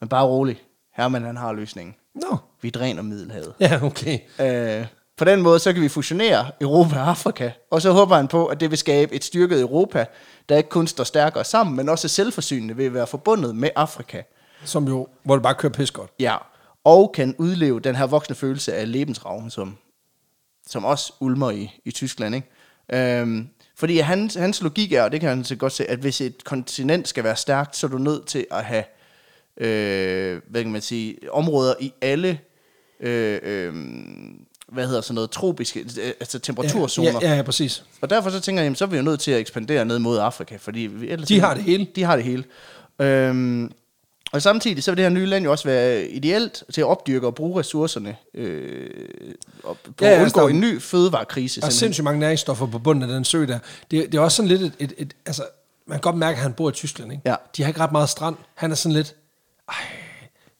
[SPEAKER 2] Men bare rolig. Herman, han har løsningen.
[SPEAKER 1] Nå.
[SPEAKER 2] Vi dræner Middelhavet.
[SPEAKER 1] Ja, okay.
[SPEAKER 2] Øh, på den måde, så kan vi fusionere Europa og Afrika. Og så håber han på, at det vil skabe et styrket Europa, der ikke kun står stærkere sammen, men også er selvforsynende ved at være forbundet med Afrika.
[SPEAKER 1] Som jo, hvor det bare kører pis godt.
[SPEAKER 2] Ja. Og kan udleve den her voksne følelse af lebensraven, som, som også ulmer i, i Tyskland. Ikke? Øhm, fordi hans, hans logik er, og det kan han så godt se, at hvis et kontinent skal være stærkt, så er du nødt til at have øh, hvad kan man sige, områder i alle øh, øh, hvad hedder sådan noget, tropiske, øh, altså temperaturzoner.
[SPEAKER 1] Ja, ja, ja, præcis.
[SPEAKER 2] Og derfor så tænker jeg, jamen, så er vi jo nødt til at ekspandere ned mod Afrika, fordi vi- ellers...
[SPEAKER 1] De har det hele.
[SPEAKER 2] De har det hele. Øhm, og samtidig så vil det her nye land jo også være ideelt til at opdyrke og bruge ressourcerne øh, og på
[SPEAKER 1] Ja,
[SPEAKER 2] ja,
[SPEAKER 1] ja,
[SPEAKER 2] at undgå
[SPEAKER 1] altså,
[SPEAKER 2] en ny fødevarekrise.
[SPEAKER 1] Der er
[SPEAKER 2] simpelthen.
[SPEAKER 1] sindssygt mange næringsstoffer på bunden af den sø der. Det, det er også sådan lidt et, et, et... Altså, man kan godt mærke, at han bor i Tyskland, ikke?
[SPEAKER 2] Ja.
[SPEAKER 1] De har ikke ret meget strand. Han er sådan lidt... Ej,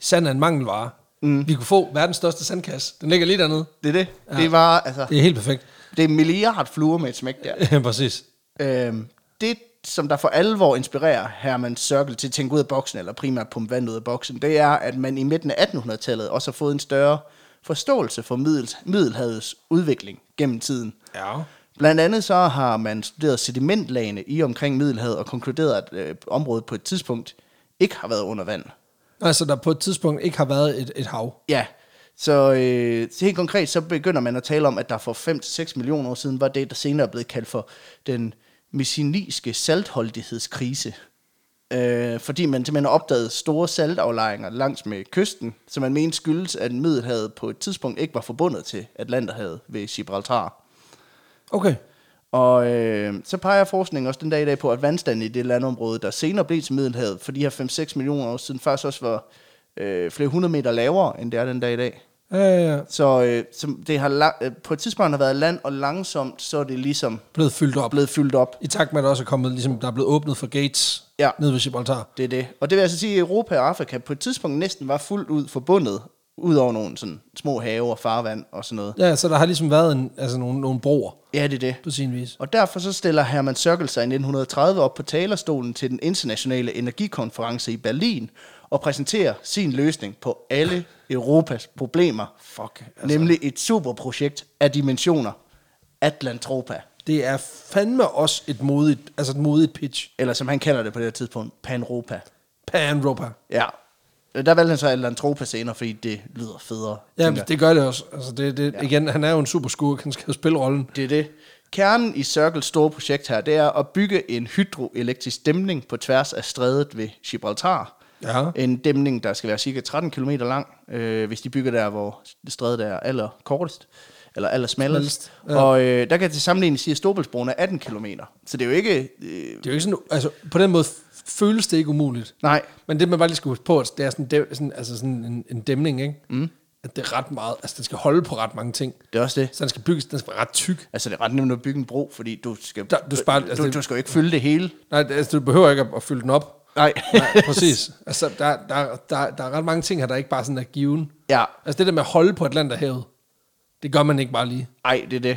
[SPEAKER 1] sand er en mangelvare. Mm. Vi kunne få verdens største sandkasse. Den ligger lige dernede.
[SPEAKER 2] Det er det. Ja. Det var altså,
[SPEAKER 1] Det er helt perfekt.
[SPEAKER 2] det er en milliard fluer med et smæk der.
[SPEAKER 1] Ja, præcis.
[SPEAKER 2] Øhm, det, som der for alvor inspirerer Herman Circle til at tænke ud af boksen, eller primært pumpe vand ud af boksen, det er, at man i midten af 1800-tallet også har fået en større forståelse for middel, Middelhavets udvikling gennem tiden.
[SPEAKER 1] Ja.
[SPEAKER 2] Blandt andet så har man studeret sedimentlagene i og omkring Middelhavet og konkluderet, at øh, området på et tidspunkt ikke har været under vand.
[SPEAKER 1] Altså, der på et tidspunkt ikke har været et, et hav.
[SPEAKER 2] Ja, så øh, så helt konkret, så begynder man at tale om, at der for 5-6 millioner år siden var det, der senere er blevet kaldt for den messiniske saltholdighedskrise. Øh, fordi man simpelthen har opdaget store saltaflejringer langs med kysten, som man mente skyldes, at Middelhavet på et tidspunkt ikke var forbundet til Atlanterhavet ved Gibraltar.
[SPEAKER 1] Okay.
[SPEAKER 2] Og øh, så peger forskningen også den dag i dag på, at vandstanden i det landområde, der senere blev til Middelhavet for de her 5-6 millioner år siden, faktisk også var øh, flere hundrede meter lavere, end det er den dag i dag.
[SPEAKER 1] Øh,
[SPEAKER 2] Så, øh, så det har la- øh, på et tidspunkt har været land, og langsomt så er det ligesom
[SPEAKER 1] blevet fyldt op.
[SPEAKER 2] blevet fyldt op.
[SPEAKER 1] I takt med, at der også er kommet, ligesom, der er blevet åbnet for gates
[SPEAKER 2] Ja.
[SPEAKER 1] nede ved Gibraltar.
[SPEAKER 2] Det er det. Og det vil altså sige, at Europa og Afrika på et tidspunkt næsten var fuldt ud forbundet, ud over nogle sådan små haver og farvand og sådan noget.
[SPEAKER 1] Ja, så der har ligesom været en, altså, nogle, nogle broer
[SPEAKER 2] Ja, det er det.
[SPEAKER 1] på sin vis.
[SPEAKER 2] Og derfor så stiller Herman Sørkel sig i 1930 op på talerstolen til den internationale energikonference i Berlin og præsenterer sin løsning på alle Europas problemer,
[SPEAKER 1] Fuck. Altså.
[SPEAKER 2] nemlig et superprojekt af dimensioner, Atlantropa,
[SPEAKER 1] Det er fandme også et modigt, altså et modigt pitch.
[SPEAKER 2] eller som han kalder det på det her tidspunkt, Panropa.
[SPEAKER 1] Pan-Europa.
[SPEAKER 2] Ja. Der valgte han så Atlantropa senere, fordi det lyder federe.
[SPEAKER 1] Ja,
[SPEAKER 2] tænker
[SPEAKER 1] men det gør det også. Altså, det, det, ja. igen, han er jo en super skurk, han skal jo spille rollen.
[SPEAKER 2] Det er det. Kernen i Circles store projekt her, det er at bygge en hydroelektrisk dæmning på tværs af strædet ved Gibraltar.
[SPEAKER 1] Ja.
[SPEAKER 2] En dæmning, der skal være cirka 13 km lang, øh, hvis de bygger der, hvor strædet er allerkortest, eller allersmallest.
[SPEAKER 1] Smallest, ja.
[SPEAKER 2] Og øh, der kan til sammenligning sige, at Storbæltsbroen er 18 km. Så det er jo ikke... Øh,
[SPEAKER 1] Det er jo ikke sådan, altså, på den måde f- føles det ikke umuligt.
[SPEAKER 2] nej,
[SPEAKER 1] Men det, man bare lige skal huske på, at det er sådan, dæm, sådan, altså sådan en, en dæmning, ikke? Mm. At det er ret meget, altså den skal holde på ret mange ting.
[SPEAKER 2] det er også det.
[SPEAKER 1] Så den skal bygges, den skal være ret tyk.
[SPEAKER 2] Altså, det er ret nemt at bygge en bro, fordi du skal,
[SPEAKER 1] Der- du sparer-
[SPEAKER 2] du,
[SPEAKER 1] altså,
[SPEAKER 2] du,
[SPEAKER 1] det-
[SPEAKER 2] skal jo ikke fylde det hele.
[SPEAKER 1] Nej, det- altså, du behøver ikke at, at fylde den op.
[SPEAKER 2] Nej.
[SPEAKER 1] Nej, præcis. Altså, der, der, der, der er ret mange ting her, der ikke bare sådan er given.
[SPEAKER 2] ja,
[SPEAKER 1] Altså det der med at holde på Atlanterhavet, det gør man ikke bare lige.
[SPEAKER 2] ej, det er det.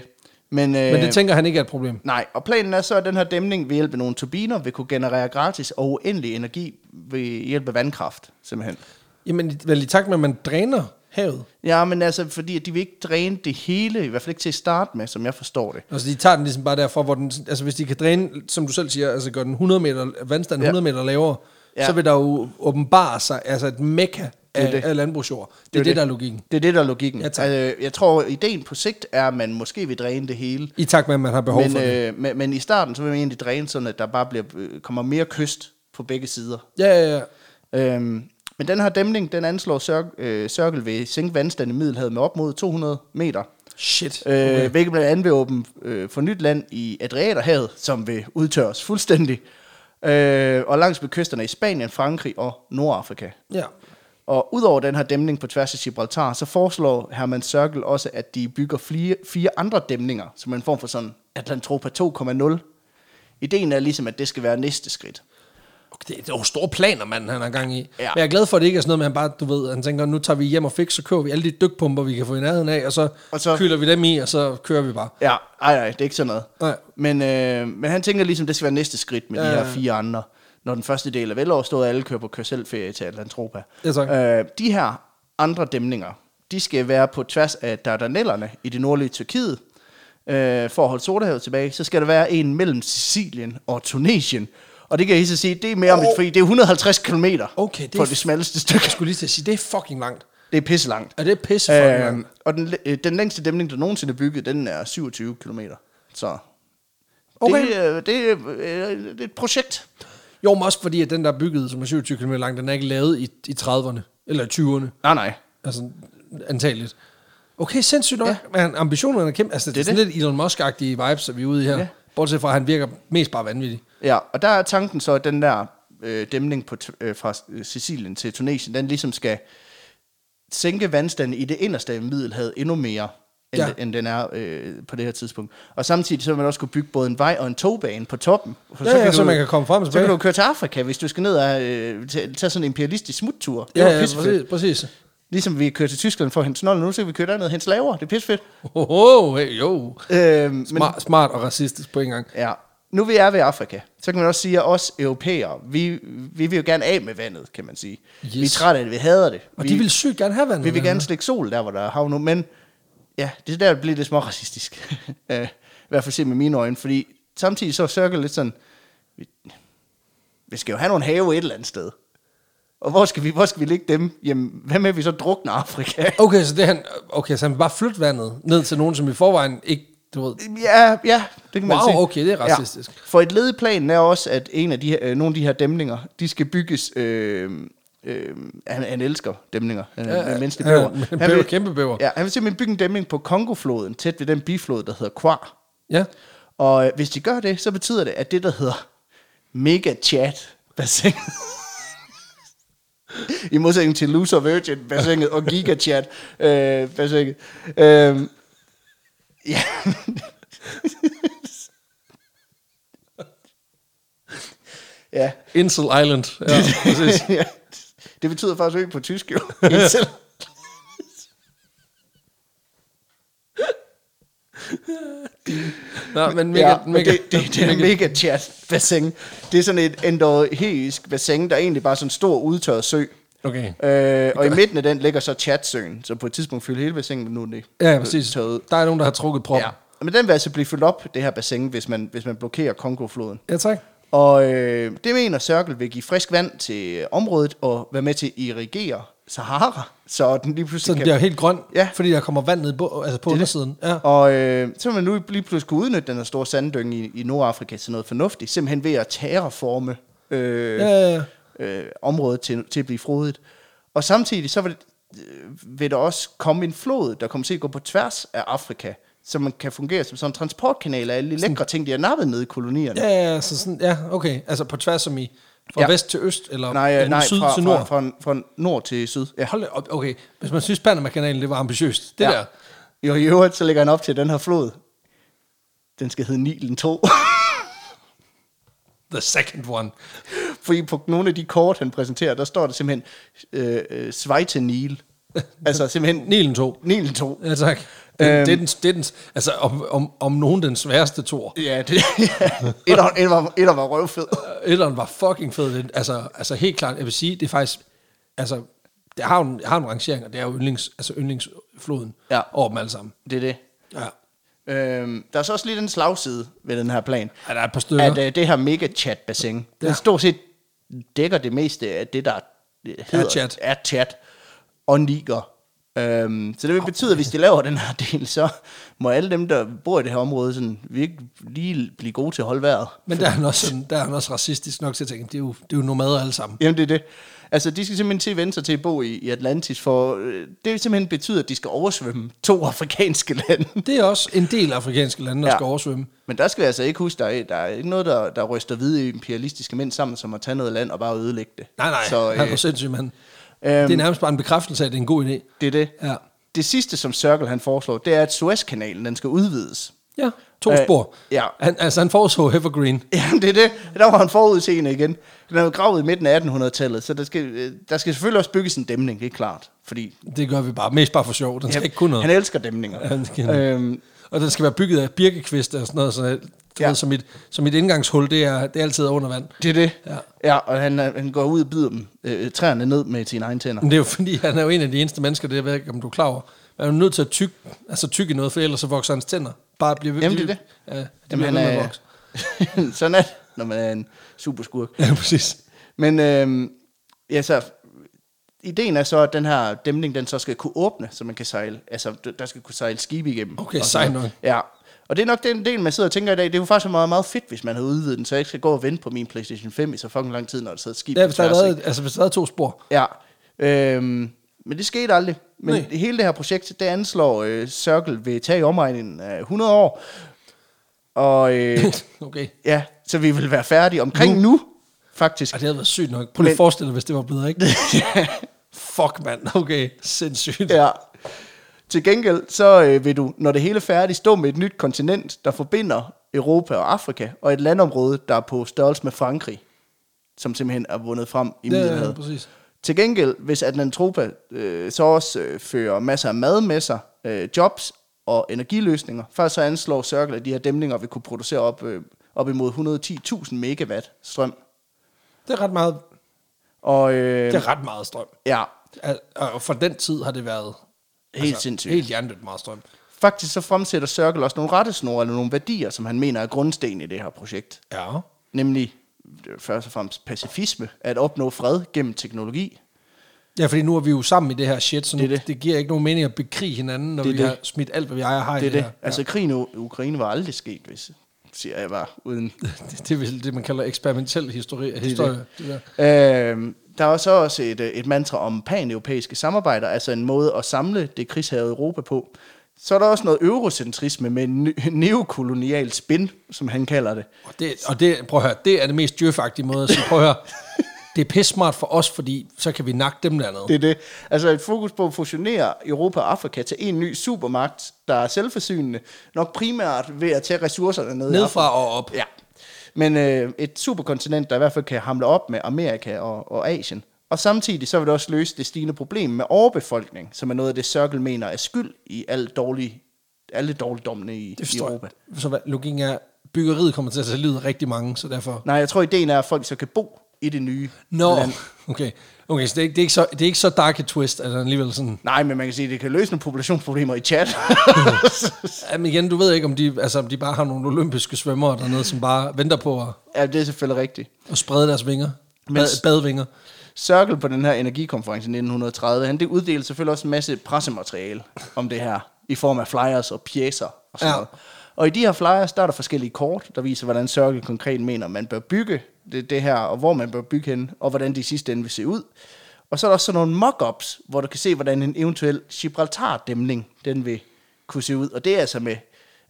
[SPEAKER 2] Men, øh,
[SPEAKER 1] Men det tænker han ikke er et problem.
[SPEAKER 2] Nej, og planen er så, at den her dæmning ved hjælp af nogle turbiner vil kunne generere gratis og uendelig energi ved hjælp af vandkraft, simpelthen.
[SPEAKER 1] Jamen, i- vel i takt med, at man dræner havet.
[SPEAKER 2] Ja, men altså, fordi at de vil ikke dræne det hele, i hvert fald ikke til at starte med, som jeg forstår det.
[SPEAKER 1] Altså, de tager den ligesom bare derfra, hvor den... Altså, hvis de kan dræne, som du selv siger, altså gør den 100 meter, vandstanden
[SPEAKER 2] Ja.
[SPEAKER 1] 100 meter lavere,
[SPEAKER 2] Ja.
[SPEAKER 1] ja. så vil der jo åbenbare sig altså et mekka af,
[SPEAKER 2] det.
[SPEAKER 1] af landbrugsjord. Det,
[SPEAKER 2] Det er
[SPEAKER 1] er det,
[SPEAKER 2] det.
[SPEAKER 1] der er logikken.
[SPEAKER 2] Det er det, der er logikken.
[SPEAKER 1] Ja, tak.
[SPEAKER 2] altså, jeg tror, ideen på sigt er, at man måske vil dræne det hele.
[SPEAKER 1] I takt med, at man har behov men,
[SPEAKER 2] Men,
[SPEAKER 1] for det.
[SPEAKER 2] øh, men, men i starten, så vil man egentlig dræne sådan, at der bare bliver, øh, kommer mere kyst på begge sider.
[SPEAKER 1] Ja, ja, ja.
[SPEAKER 2] Øhm, men den her dæmning, den anslår Sør- øh, Cirkel ved sænke vandstanden i Middelhavet med op mod 200 meter.
[SPEAKER 1] Shit.
[SPEAKER 2] Øh, okay. Hvilket blandt andet vil åbne øh, for nyt land i Adriaterhavet, som vil udtørres fuldstændig. Øh, og langs med kysterne i Spanien, Frankrig og Nordafrika.
[SPEAKER 1] Ja.
[SPEAKER 2] Og udover den her dæmning på tværs af Gibraltar, så foreslår Herman Sørkel også, at de bygger flere, fire andre dæmninger, som en form for sådan Atlantropa 2.0. Ideen er ligesom, at det skal være næste skridt.
[SPEAKER 1] Okay, det er det er jo store planer, manden han har gang i.
[SPEAKER 2] Ja.
[SPEAKER 1] Ja. Men jeg er glad for, at det ikke er sådan noget, man bare, du ved, han tænker, nu tager vi hjem og fik, så kører vi alle de dykpumper, vi kan få i nærheden af, og så,
[SPEAKER 2] Og
[SPEAKER 1] og
[SPEAKER 2] så-
[SPEAKER 1] så... køler vi dem i, og så kører vi bare.
[SPEAKER 2] Ja, nej, nej, det er ikke sådan noget.
[SPEAKER 1] Nej.
[SPEAKER 2] Men, øh, men han tænker ligesom, det skal være næste skridt med ja,
[SPEAKER 1] Ja,
[SPEAKER 2] de her
[SPEAKER 1] ja, ja.
[SPEAKER 2] fire andre. Når den første del er veloverstået, og alle kører på kørselferie til Atlantropa.
[SPEAKER 1] Ja, tak.
[SPEAKER 2] Øh, de her andre dæmninger, de skal være på tværs af Dardanellerne i det nordlige Tyrkiet. Øh, for at holde Sortehavet tilbage, så skal der være en mellem Sicilien og Tunesien. Og det kan jeg så sige, det er mere om lidt,
[SPEAKER 1] Åh.
[SPEAKER 2] fordi det er 150 km
[SPEAKER 1] Okay, det er
[SPEAKER 2] på
[SPEAKER 1] f-
[SPEAKER 2] det smalleste stykke.
[SPEAKER 1] Jeg skulle lige til at sige, det er fucking langt.
[SPEAKER 2] Det er pisse langt.
[SPEAKER 1] Er det pisse fucking øh...
[SPEAKER 2] Øh,
[SPEAKER 1] langt?
[SPEAKER 2] og den, læ- øh, den længste dæmning, der nogensinde er bygget, den er 27 km. Så
[SPEAKER 1] Okay.
[SPEAKER 2] det, øh, det, øh, øh, det er et projekt.
[SPEAKER 1] Jo, men også fordi, at den der er bygget, som er 27 km lang, den er ikke lavet i, i 30'erne, eller i 20'erne,
[SPEAKER 2] Nej, nej.
[SPEAKER 1] altså antageligt. Okay, sindssygt nok. Ja. Men ambitionerne er kæmpe. Altså, det,
[SPEAKER 2] Det er
[SPEAKER 1] det er sådan lidt Elon Musk-agtige vibes, at vi er ude i her.
[SPEAKER 2] Ja.
[SPEAKER 1] Ja. Bortset fra, at han virker mest bare vanvittig.
[SPEAKER 2] Ja, og der er tanken så, at den der øh, dæmning på t- øh, fra øh, Sicilien til Tunesien, den ligesom skal sænke vandstanden i det inderste af Middelhavet endnu mere, end, ja.
[SPEAKER 1] Ja.
[SPEAKER 2] end den er øh, på det her tidspunkt. Og samtidig så vil man også kunne bygge både en vej og en togbane på toppen. For
[SPEAKER 1] Ja, ja, så man kan komme frem og
[SPEAKER 2] Så kan
[SPEAKER 1] tilbage.
[SPEAKER 2] du køre til Afrika, hvis du skal ned og øh, tage, tage sådan en imperialistisk smuttur. Det
[SPEAKER 1] Ja,
[SPEAKER 2] var
[SPEAKER 1] ja,
[SPEAKER 2] pissefedt.
[SPEAKER 1] præcis. præcis.
[SPEAKER 2] Ligesom vi kører til Tyskland for at hente snolle, nu så kan vi køre derned og hente slaver. Det er pissefedt.
[SPEAKER 1] Oho, hey, jo.
[SPEAKER 2] Øhm, men,
[SPEAKER 1] Smart, smart og racistisk på en gang.
[SPEAKER 2] ja. Nu vi er ved Afrika, så kan man også sige, at os europæere, vi, vi vil jo gerne af med vandet, kan man sige. Yes.
[SPEAKER 1] Yes.
[SPEAKER 2] Vi er trætte af det, vi hader det.
[SPEAKER 1] Og
[SPEAKER 2] vi,
[SPEAKER 1] de vil sygt gerne have vand.
[SPEAKER 2] vi vil gerne slikke sol der, hvor der er hav nu, men ja, det er der, det bliver lidt små racistisk. Øh, I hvert fald set med mine øjne, fordi samtidig så er Circle lidt sådan, vi, vi skal jo have nogle have et eller andet sted. Og hvor skal vi, hvor skal vi ligge dem? Jamen, hvad med, at vi så drukner Afrika?
[SPEAKER 1] Okay, så det er han, okay, så han vil bare flytte vandet ned til nogen, som i forvejen ikke, du ved,
[SPEAKER 2] Ja, ja, det kan man
[SPEAKER 1] Wow,
[SPEAKER 2] sige.
[SPEAKER 1] okay, det er racistisk.
[SPEAKER 2] Ja. For et led i planen er også, at en af de her, øh, nogle af de her dæmninger, de skal bygges... Øh, øh, han, han elsker dæmninger. Han er ja, en menneskelig
[SPEAKER 1] ja,
[SPEAKER 2] bæver.
[SPEAKER 1] men
[SPEAKER 2] Han
[SPEAKER 1] bæver,
[SPEAKER 2] vil-
[SPEAKER 1] kæmpe bæver.
[SPEAKER 2] Ja, han vil simpelthen bygge en dæmning på Kongofloden, tæt ved den biflod, der hedder Kvar.
[SPEAKER 1] ja.
[SPEAKER 2] Og øh, hvis de gør det, så betyder det, at det, der hedder Mega Chat bassinet i modsætning til Loser Virgin bassinet og Giga Chat øh, bassinet. Øh, ja. ja.
[SPEAKER 1] Insel Island. Ja, præcis.
[SPEAKER 2] ja. Det betyder faktisk ø på tysk, jo. Insel.
[SPEAKER 1] Nå, men mega,
[SPEAKER 2] Mega, ja,
[SPEAKER 1] ja,
[SPEAKER 2] men
[SPEAKER 1] mega,
[SPEAKER 2] det, det, det er mega, mega chat bassin. Det er sådan et endorheisk bassin, der er egentlig bare sådan en stor udtørret sø.
[SPEAKER 1] Okay.
[SPEAKER 2] Øh, og i midten af den ligger så chatsøen, så på et tidspunkt fylder hele bassinet, men nu er det
[SPEAKER 1] Ja, præcis.
[SPEAKER 2] tørret ud.
[SPEAKER 1] Der er nogen, der har trukket
[SPEAKER 2] Ja.
[SPEAKER 1] proppen.
[SPEAKER 2] Men den vil altså blive fyldt op, det her bassin, hvis man, hvis man blokerer Kongofloden.
[SPEAKER 1] Ja, tak.
[SPEAKER 2] Og øh, det mener Cirkel vil give frisk vand til området og være med til at irrigere Sahara, så den lige
[SPEAKER 1] Så
[SPEAKER 2] pludselig
[SPEAKER 1] den
[SPEAKER 2] kan...
[SPEAKER 1] bliver helt grøn,
[SPEAKER 2] Ja.
[SPEAKER 1] ja. fordi der kommer vand ned på, altså på undersiden. Ja.
[SPEAKER 2] Og øh, så vil man nu lige pludselig kunne udnytte den her store sanddynge i, i Nordafrika til noget fornuftigt, simpelthen ved at terraforme øh,
[SPEAKER 1] Ja, ja, ja.
[SPEAKER 2] øh, området til, til at blive frodigt. Og samtidig så vil, øh, vil der også komme en flod, der kommer til at gå på tværs af Afrika, så man kan fungere som sådan en transportkanal af alle de lækre ting, de har nappet nede i kolonierne.
[SPEAKER 1] Ja, ja, ja, så sådan, ja, okay. Altså på tværs som i fra
[SPEAKER 2] Ja.
[SPEAKER 1] ja. vest til øst, eller
[SPEAKER 2] Nej, øh,
[SPEAKER 1] eller
[SPEAKER 2] nej
[SPEAKER 1] syd
[SPEAKER 2] fra,
[SPEAKER 1] til nord.
[SPEAKER 2] Fra, fra, fra nord til syd. Ja.
[SPEAKER 1] Hold da op, okay. Hvis man synes, Panama-kanalen, det var ambitiøst. Det
[SPEAKER 2] Ja.
[SPEAKER 1] ja. der.
[SPEAKER 2] Jo, i øvrigt, så lægger han op til den her flod. Den skal hedde Nilen 2.
[SPEAKER 1] The second one.
[SPEAKER 2] Fordi på nogle af de kort, han præsenterer, der står der simpelthen øh, øh, Svejtenil. Altså simpelthen
[SPEAKER 1] Nilen 2.
[SPEAKER 2] Nilen 2.
[SPEAKER 1] Ja, tak. Det, øhm, det, er den, det er den, altså, om, om, om nogen den sværeste tor.
[SPEAKER 2] Ja, det, ja. Et, var, et, var, et var røvfed.
[SPEAKER 1] Etteren var fucking fed. Den, altså, altså helt klart, jeg vil sige, det er faktisk, altså, det har jo en, jeg har en rangering, og det er jo yndlings, altså yndlingsfloden
[SPEAKER 2] Ja.
[SPEAKER 1] over dem alle sammen.
[SPEAKER 2] Det er det.
[SPEAKER 1] Ja.
[SPEAKER 2] Øhm, der er så også lige den slagside ved den her plan.
[SPEAKER 1] ja der er et par stykker.
[SPEAKER 2] At øh, det her mega chat bassin, ja.
[SPEAKER 1] Ja.
[SPEAKER 2] det stort set dækker det meste af det, der øh, hedder,
[SPEAKER 1] chat.
[SPEAKER 2] er chat og niger. Øhm, så det vil betyde, at hvis de laver den her del, så må alle dem, der bor i det her område, sådan, virkelig lige blive gode til at holde vejret.
[SPEAKER 1] Men der er, han også sådan, der er han også racistisk nok til at tænke, det er jo, det er jo nomader alle sammen.
[SPEAKER 2] Jamen, det er det. Altså, de skal simpelthen til at vende sig til at bo i, i Atlantis, for øh, det vil simpelthen betyde, at de skal oversvømme to afrikanske lande.
[SPEAKER 1] Det er også en del af afrikanske lande, der
[SPEAKER 2] Ja.
[SPEAKER 1] ja. skal oversvømme.
[SPEAKER 2] Men der skal vi altså ikke huske, der er, der er ikke noget, der, der ryster hvide imperialistiske mænd sammen, som at tage noget land og bare ødelægge det.
[SPEAKER 1] Nej, nej,
[SPEAKER 2] Så,
[SPEAKER 1] han er
[SPEAKER 2] øh,
[SPEAKER 1] sindssyg, mand.
[SPEAKER 2] øhm,
[SPEAKER 1] det er nærmest bare en bekræftelse af, at det er en god idé.
[SPEAKER 2] det er det.
[SPEAKER 1] Ja,
[SPEAKER 2] Det sidste, som Circle han foreslår, det er, at Suezkanalen den skal udvides.
[SPEAKER 1] ja to
[SPEAKER 2] Øh,
[SPEAKER 1] spor.
[SPEAKER 2] ja.
[SPEAKER 1] Han, altså, han foreslog Evergreen.
[SPEAKER 2] Jamen, det er det. Der var han forudseende igen. Den er jo gravet i midten af 1800-tallet, så der skal, øh, der skal selvfølgelig også bygges en dæmning, det er klart. Fordi
[SPEAKER 1] Det gør vi bare. Mest bare for sjov. Den skal ikke kunne noget.
[SPEAKER 2] han elsker dæmninger.
[SPEAKER 1] Ja, han skal-
[SPEAKER 2] øhm,
[SPEAKER 1] Og den skal være bygget af birkekviste og sådan noget. Så, du
[SPEAKER 2] Ja.
[SPEAKER 1] ja. ved, så, mit, så mit indgangshul, det er, det er altid under vand.
[SPEAKER 2] det er det.
[SPEAKER 1] Ja.
[SPEAKER 2] ja og han, øh, han går ud og bider dem, øh, træerne ned med sine egne tænder.
[SPEAKER 1] Men det er jo fordi, han er jo en af de eneste mennesker, det jeg ved ikke, om du er klar over. Man er jo nødt til at tykke altså tykke noget, for ellers så vokser hans tænder. Bare bliver ved.
[SPEAKER 2] Jamen, det er
[SPEAKER 1] bliver- Ja, det
[SPEAKER 2] Jamen,
[SPEAKER 1] Jamen,
[SPEAKER 2] han
[SPEAKER 1] bliver ved med
[SPEAKER 2] er-
[SPEAKER 1] at vokse.
[SPEAKER 2] Sådan er det, når man er en superskurk.
[SPEAKER 1] Ja, præcis.
[SPEAKER 2] Men øhm, ja, så ideen er så, at den her dæmning, den så skal kunne åbne, så man kan sejle, altså d- der skal kunne sejle skibe igennem.
[SPEAKER 1] Okay,
[SPEAKER 2] Og sådan
[SPEAKER 1] sejt
[SPEAKER 2] noget. Ja, og det er nok den del, man sidder og tænker i dag, det er jo faktisk meget, meget fedt, hvis man havde udvidet den, så jeg ikke skal gå og vente på min Playstation 5 i så fucking lang tid, når der sidder et skib
[SPEAKER 1] Ja,
[SPEAKER 2] på
[SPEAKER 1] hvis der,
[SPEAKER 2] tværs,
[SPEAKER 1] havde,
[SPEAKER 2] ikke?
[SPEAKER 1] været- altså, hvis der havde to spor.
[SPEAKER 2] Ja, øhm, men det skete aldrig. Men
[SPEAKER 1] Nej.
[SPEAKER 2] Nej. hele det her projekt, det anslår øh, Circle vil tage i omregningen af 100 år. Og øh,
[SPEAKER 1] okay.
[SPEAKER 2] ja, så vi vil være færdige omkring nu, nu faktisk.
[SPEAKER 1] Ej, det havde været sygt nok. Prøv lige
[SPEAKER 2] Men-
[SPEAKER 1] at forestille dig, hvis det var blevet rigtigt. Fuck, mand. Okay, sindssygt.
[SPEAKER 2] Ja. Til gengæld, så øh, vil du, når det hele er færdigt, stå med et nyt kontinent, der forbinder Europa og Afrika, og et landområde, der er på størrelse med Frankrig, som simpelthen er vundet frem i
[SPEAKER 1] Ja,
[SPEAKER 2] Middelhavet.
[SPEAKER 1] ja, præcis.
[SPEAKER 2] Til gengæld, hvis Atlantropa øh, så også øh, fører masser af mad med sig, øh, jobs og energiløsninger, først så anslår Circle, at de her dæmninger vil kunne producere op, øh, op imod 110.000 megawatt strøm.
[SPEAKER 1] Det er ret meget,
[SPEAKER 2] Og øh,
[SPEAKER 1] det er ret meget strøm.
[SPEAKER 2] ja,
[SPEAKER 1] Al- Og for den tid har det været...
[SPEAKER 2] Helt sindssygt.
[SPEAKER 1] Altså, Helt hjernedødt meget strøm.
[SPEAKER 2] faktisk så fremsætter Circle også nogle rettesnore eller nogle værdier, som han mener er grundsten i det her projekt.
[SPEAKER 1] Ja.
[SPEAKER 2] nemlig øh, først og fremmest pacifisme, at opnå fred gennem teknologi.
[SPEAKER 1] Ja, fordi nu er vi jo sammen i det her shit, så
[SPEAKER 2] Det
[SPEAKER 1] det,
[SPEAKER 2] er
[SPEAKER 1] det.
[SPEAKER 2] det.
[SPEAKER 1] det giver ikke nogen mening at bekrige hinanden, når
[SPEAKER 2] Det er
[SPEAKER 1] vi
[SPEAKER 2] det.
[SPEAKER 1] har smidt alt, hvad vi ejer og har
[SPEAKER 2] Det er
[SPEAKER 1] i det,
[SPEAKER 2] det.
[SPEAKER 1] her.
[SPEAKER 2] Altså krigen i U- Ukraine var aldrig sket, hvis siger jeg var uden.
[SPEAKER 1] Det, det er vel det, man kalder eksperimentel historie. Det historie. Det der.
[SPEAKER 2] øhm, der er så også et, øh, et mantra om pan-europæiske samarbejder, altså en måde at samle det krigshavede Europa på. Så er der også noget eurocentrisme med en ny- neokolonial spin, som han kalder det.
[SPEAKER 1] Og, det, og det, prøv at høre, det er det mest dyrfagtige måde at sige, prøv at høre, det er pissmart for os, fordi så kan vi nakke dem dernede.
[SPEAKER 2] Det er det. Altså et fokus på at fusionere Europa og Afrika til en ny supermagt, der er selvforsynende, nok primært ved at tage ressourcerne ned i Afrika.
[SPEAKER 1] Nedfra og op.
[SPEAKER 2] Ja. Men øh, et superkontinent, der i hvert fald kan hamle op med Amerika og, og Asien. Og samtidig så vil det også løse det stigende problem med overbefolkning, som er noget af det, Circle mener er skyld i al dårlig, alle dårligdommene i,
[SPEAKER 1] Det
[SPEAKER 2] i
[SPEAKER 1] forstår
[SPEAKER 2] Europa.
[SPEAKER 1] jeg. Så hvad, logikken er, byggeriet kommer til at tage livet af rigtig mange, så derfor...
[SPEAKER 2] Nej, jeg tror, ideen er, at folk så kan bo i det nye
[SPEAKER 1] Nå,
[SPEAKER 2] land.
[SPEAKER 1] okay. Okay, så det er, ikke, det, er ikke så, det er ikke så dark et twist, at han alligevel sådan...
[SPEAKER 2] Nej, men man kan sige, at det kan løse nogle populationsproblemer i chat.
[SPEAKER 1] Jamen igen, du ved ikke, om de, altså, om de bare har nogle olympiske svømmere dernede, som bare venter på at,
[SPEAKER 2] ja, det er selvfølgelig rigtigt.
[SPEAKER 1] at sprede deres vinger.
[SPEAKER 2] Men-
[SPEAKER 1] Bad, badvinger.
[SPEAKER 2] Circle på den her energikonference i 1930, han det uddelte selvfølgelig også en masse pressemateriale om det her, i form af flyers og pjæser og sådan
[SPEAKER 1] Ja.
[SPEAKER 2] ja. noget. Og i de her flyers, der er der forskellige kort, der viser, hvordan Circle konkret mener, man bør bygge det, det her, og hvor man bør bygge hen, og hvordan de i sidste ende vil se ud. Og så er der også sådan nogle mock-ups, hvor du kan se, hvordan en eventuel Gibraltar-dæmning, den vil kunne se ud. Og det er altså med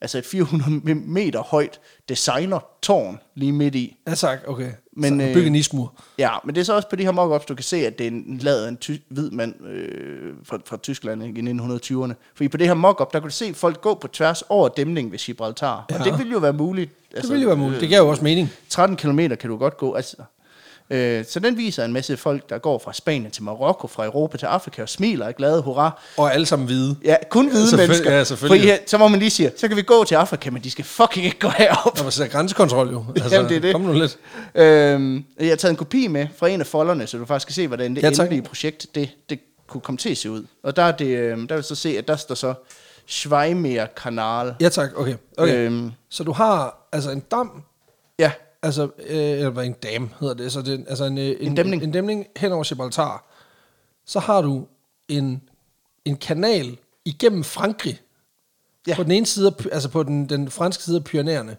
[SPEAKER 2] altså et 400 meter højt designer-tårn lige midt i.
[SPEAKER 1] Ja tak, okay.
[SPEAKER 2] Men,
[SPEAKER 1] Men, så,
[SPEAKER 2] øh,
[SPEAKER 1] øh, bygge en ismur.
[SPEAKER 2] Ja, men det er så også på de her mockups, du kan se, at det er en, lavet af en ty- hvid mand øh, fra, fra Tyskland ikke, i 1920'erne. Fordi på det her mockup, der kunne du se folk gå på tværs over dæmningen ved Gibraltar. Ja. Og
[SPEAKER 1] Ja.
[SPEAKER 2] det ville jo være muligt. altså,
[SPEAKER 1] det ville jo være muligt. Det gav jo også mening.
[SPEAKER 2] Øh, 13 km kan du godt gå. Altså, Øh, så den viser en masse folk, der går fra Spanien til Marokko, fra Europa til Afrika og smiler og er glade, hurra.
[SPEAKER 1] Og alle sammen hvide.
[SPEAKER 2] Ja, kun hvide
[SPEAKER 1] selvfølgelig-
[SPEAKER 2] mennesker.
[SPEAKER 1] ja, selvfølgelig.
[SPEAKER 2] Fordi, her- så må man lige sige, så kan vi gå til Afrika, men de skal fucking ikke gå herop.
[SPEAKER 1] Der var sådan grænsekontrol jo. Altså,
[SPEAKER 2] Jamen, det er det.
[SPEAKER 1] Kom nu lidt.
[SPEAKER 2] Øhm, jeg har taget en kopi med fra en af folderne, så du faktisk kan se, hvordan det
[SPEAKER 1] Ja,
[SPEAKER 2] ja,
[SPEAKER 1] tak.
[SPEAKER 2] endelige projekt, det, det kunne komme til at se ud. Og der, er det, øhm, der vil du så se, at der står så Schweimer Kanal.
[SPEAKER 1] Ja tak, okay. okay.
[SPEAKER 2] Øhm.
[SPEAKER 1] Så du har altså en dam,
[SPEAKER 2] Ja,
[SPEAKER 1] altså, øh, eller hvad, en dam hedder det, så det er en- altså en, øh, en,
[SPEAKER 2] dæmning.
[SPEAKER 1] en dæmning hen over Gibraltar. Så har du en, en kanal igennem Frankrig, ja.
[SPEAKER 2] Ja.
[SPEAKER 1] på den ene side, af Py- altså på den, den franske side af Pyrenæerne,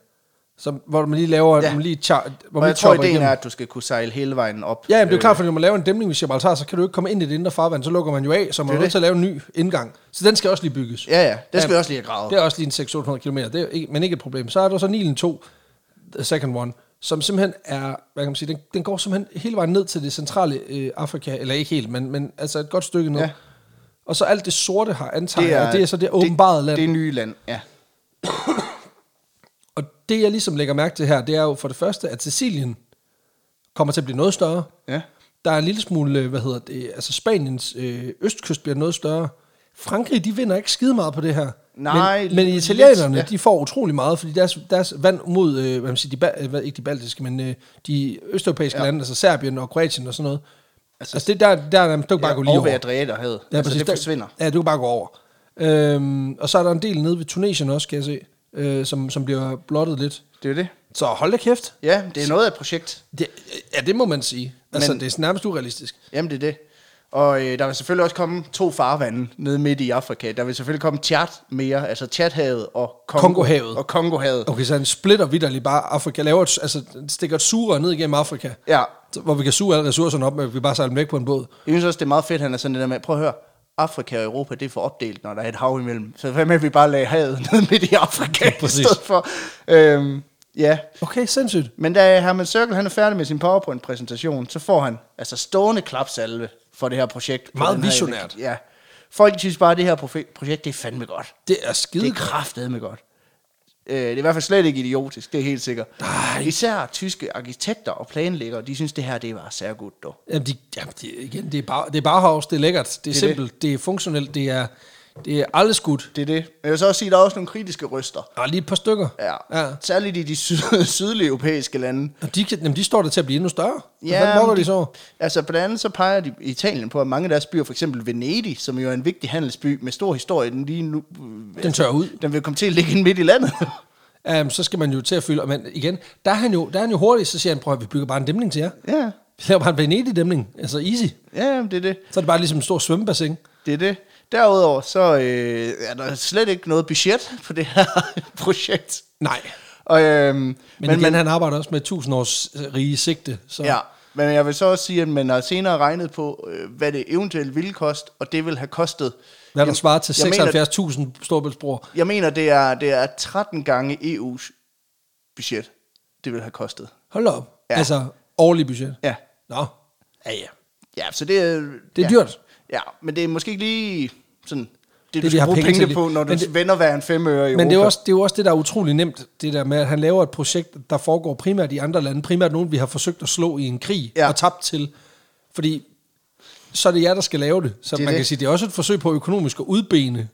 [SPEAKER 1] som, hvor man lige laver, ja.
[SPEAKER 2] Ja.
[SPEAKER 1] man lige char, hvor
[SPEAKER 2] og
[SPEAKER 1] man lige
[SPEAKER 2] jeg tror,
[SPEAKER 1] chopper
[SPEAKER 2] ideen
[SPEAKER 1] igennem.
[SPEAKER 2] er, at du skal kunne sejle hele vejen op. Øh,
[SPEAKER 1] Ja, men det er jo klart, fordi når man laver en dæmning ved Gibraltar, så kan du ikke komme ind i det indre farvand, så lukker man jo af, så man
[SPEAKER 2] Det
[SPEAKER 1] er
[SPEAKER 2] er
[SPEAKER 1] nødt
[SPEAKER 2] det.
[SPEAKER 1] til at lave en ny indgang. Så den skal også lige bygges.
[SPEAKER 2] Ja, ja, det skal vi også lige have gravet.
[SPEAKER 1] Det er også lige en 600-800 km, det er ikke, men ikke et problem. Så er der så Nilen 2, the second one, som simpelthen er, hvad kan man sige, den, den går simpelthen hele vejen ned til det centrale øh, Afrika, eller ikke helt, men, men altså et godt stykke ned. Ja.
[SPEAKER 2] Ja.
[SPEAKER 1] Og så alt det sorte har antaget, det er, det er så det åbenbare land.
[SPEAKER 2] Det er nye land, ja.
[SPEAKER 1] Og det, jeg ligesom lægger mærke til her, det er jo for det første, at Sicilien kommer til at blive noget større.
[SPEAKER 2] Ja.
[SPEAKER 1] Der er en lille smule, øh, hvad hedder det, altså Spaniens øh, østkyst bliver noget større. Frankrig, de vinder ikke skide meget på det her.
[SPEAKER 2] Nej,
[SPEAKER 1] men, men
[SPEAKER 2] lidt,
[SPEAKER 1] italienerne,
[SPEAKER 2] ja.
[SPEAKER 1] de får utrolig meget, fordi deres, deres vand mod, øh, hvad man siger, de, ba- øh, hvad- ikke de baltiske, men øh, de østeuropæiske ja. lande, altså Serbien og Kroatien og sådan noget. Altså, altså det er der, der, der, der, der bare gå lige
[SPEAKER 2] og ved
[SPEAKER 1] over.
[SPEAKER 2] Adriaterhavet.
[SPEAKER 1] Ja,
[SPEAKER 2] Ja, altså,
[SPEAKER 1] præcis.
[SPEAKER 2] det
[SPEAKER 1] Der-
[SPEAKER 2] forsvinder.
[SPEAKER 1] Ja, du kan bare gå over. Øhm, og så er der en del nede ved Tunesien også, kan jeg se, øh, som, som bliver blottet lidt.
[SPEAKER 2] Det er det.
[SPEAKER 1] Så hold da kæft.
[SPEAKER 2] Ja, det er noget af et projekt.
[SPEAKER 1] Det, ja, det må man sige. Altså, men,
[SPEAKER 2] Men-
[SPEAKER 1] det er nærmest urealistisk.
[SPEAKER 2] Jamen, det er det. Og øh, der vil selvfølgelig også komme to farvande nede midt i Afrika. Der vil selvfølgelig komme Tchad mere, altså Tchadhavet og Kongo,
[SPEAKER 1] Kongohavet.
[SPEAKER 2] Og Kongohavet.
[SPEAKER 1] Okay, så han splitter vidderligt bare Afrika, laver et, altså, stikker et sugerør ned igennem Afrika,
[SPEAKER 2] Ja,
[SPEAKER 1] så- hvor vi kan suge alle ressourcerne op, men vi bare sejler dem væk på en båd.
[SPEAKER 2] jeg synes også, det er meget fedt, han er sådan det der med, prøv at høre, Afrika og Europa, det er for opdelt, når der er et hav imellem. Så hvad med, at vi bare lagde havet nede midt i Afrika ja, i
[SPEAKER 1] præcis.
[SPEAKER 2] stedet for? Øhm, ja,
[SPEAKER 1] Okay, sindssygt.
[SPEAKER 2] Men da Herman Cirkel han er færdig med sin PowerPoint-præsentation, så får han altså stående klapsalve for det her projekt.
[SPEAKER 1] Meget
[SPEAKER 2] Den her-
[SPEAKER 1] visionært.
[SPEAKER 2] Ja. Folk synes bare, at det her profe- projekt, det er fandme godt.
[SPEAKER 1] Det er skide
[SPEAKER 2] Det er kraftedeme godt. Øh, det er i hvert fald slet ikke idiotisk, det er helt sikkert.
[SPEAKER 1] Nej.
[SPEAKER 2] Især tyske arkitekter og planlæggere, de synes, det her, det var særligt godt, dog.
[SPEAKER 1] Jamen, de, jamen de, igen, det er, bare, det er Bauhaus, det er lækkert, det er, det
[SPEAKER 2] Det
[SPEAKER 1] er
[SPEAKER 2] er
[SPEAKER 1] simpelt, det. det er funktionelt, det er, det er alles skudt.
[SPEAKER 2] Det er det. Jeg vil så også sige, at der er også nogle kritiske røster.
[SPEAKER 1] Der er lige et par stykker.
[SPEAKER 2] Ja.
[SPEAKER 1] ja.
[SPEAKER 2] Særligt i de syd- sydlige europæiske lande.
[SPEAKER 1] Og de, kan- jamen, de står der til at blive endnu større. Ja,
[SPEAKER 2] Ja,
[SPEAKER 1] Hvad mokker
[SPEAKER 2] men
[SPEAKER 1] de så?
[SPEAKER 2] Altså blandt andet så peger de Italien på, at mange af deres byer, for eksempel Venedig, som jo er en vigtig handelsby med stor historie, den lige nu, øh,
[SPEAKER 1] Den tør ud.
[SPEAKER 2] den vil komme til at ligge inde midt i landet.
[SPEAKER 1] Um, så skal man jo til at fylde, men igen, der er han jo, der er han jo hurtig, så siger han, prøv at høre, vi bygger bare en dæmning til jer.
[SPEAKER 2] ja,
[SPEAKER 1] Vi laver bare en Venedig-dæmning, altså easy.
[SPEAKER 2] ja, det er det.
[SPEAKER 1] Så er det bare ligesom en stor svømmebassin.
[SPEAKER 2] Det er det. Derudover så øh, er der slet ikke noget budget på det her projekt.
[SPEAKER 1] Nej.
[SPEAKER 2] Og, øhm, men,
[SPEAKER 1] Men, men, igen, han arbejder også med tusindårs øh, rige sigte. Så.
[SPEAKER 2] ja, men jeg vil så også sige, at man har senere regnet på, øh, hvad det eventuelt ville koste, og det vil have kostet.
[SPEAKER 1] Hvad der svarer til
[SPEAKER 2] Jeg mener,
[SPEAKER 1] 76.000 storbæltsbroer.
[SPEAKER 2] jeg mener det, er, det er 13 gange EU's budget, det vil have kostet.
[SPEAKER 1] Hold da op. Ja.
[SPEAKER 2] Ja.
[SPEAKER 1] Altså, årlig budget.
[SPEAKER 2] Ja.
[SPEAKER 1] Nå. Ja, ja.
[SPEAKER 2] Ja, så det er...
[SPEAKER 1] Det er
[SPEAKER 2] ja.
[SPEAKER 1] dyrt.
[SPEAKER 2] Ja, men det er måske ikke lige sådan... Det, det
[SPEAKER 1] vi
[SPEAKER 2] du skal
[SPEAKER 1] har
[SPEAKER 2] bruge
[SPEAKER 1] penge
[SPEAKER 2] penge,
[SPEAKER 1] til.
[SPEAKER 2] penge på, når du
[SPEAKER 1] Men
[SPEAKER 2] det, vender hver en femøre i
[SPEAKER 1] Men det er,
[SPEAKER 2] Europa.
[SPEAKER 1] jo også, det er jo også det, der er utrolig nemt, det der med, at han laver et projekt, der foregår primært i andre lande, primært nogen, vi har forsøgt at slå i en krig ja.
[SPEAKER 2] Ja.
[SPEAKER 1] og tabt til, fordi så er det jer, der skal lave det. Så det
[SPEAKER 2] Det er
[SPEAKER 1] man det. kan
[SPEAKER 2] det.
[SPEAKER 1] sige, det er også et forsøg på økonomisk at udbene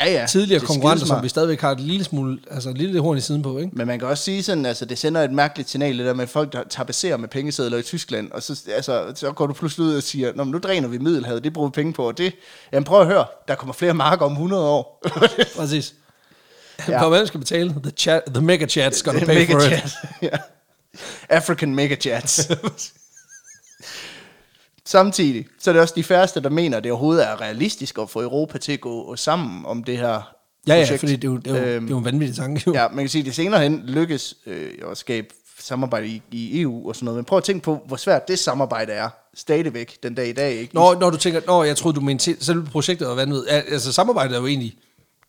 [SPEAKER 2] ja, ja,
[SPEAKER 1] tidligere
[SPEAKER 2] det er
[SPEAKER 1] konkurrenter, som
[SPEAKER 2] skidesmart.
[SPEAKER 1] vi stadigvæk har et lille smule, altså et lille horn i siden på, ikke?
[SPEAKER 2] Men man kan også sige sådan, altså det sender et mærkeligt signal, det der med folk, der tapeserer med pengesedler i Tyskland, og så, altså, så går du pludselig ud og siger, Nå, men nu dræner vi Middelhavet, det bruger vi penge på, og det, jamen prøv at høre, der kommer flere marker om 100 år.
[SPEAKER 1] Præcis. Ja.
[SPEAKER 2] Ja.
[SPEAKER 1] På hvem skal betale? The, chat, the mega chat's gonna
[SPEAKER 2] Det er
[SPEAKER 1] pay for it.
[SPEAKER 2] megachat. ja. African megachats. Samtidig, så er det også de færreste, der mener, at det overhovedet er realistisk at få Europa til at gå sammen om det her
[SPEAKER 1] Ja, ja,
[SPEAKER 2] projekt.
[SPEAKER 1] fordi det er jo, det er jo, øhm, det er jo en vanvittig tanke. Jo.
[SPEAKER 2] Ja, man kan sige, at det senere hen lykkes øh, at skabe samarbejde i, i EU og sådan noget. Men prøv at tænke på, hvor svært det samarbejde er stadigvæk den dag i dag. Ikke?
[SPEAKER 1] Nå, når du tænker, nå, jeg troede, du mente selv- selve projektet og vanvid. Ja, Altså, samarbejdet er jo egentlig,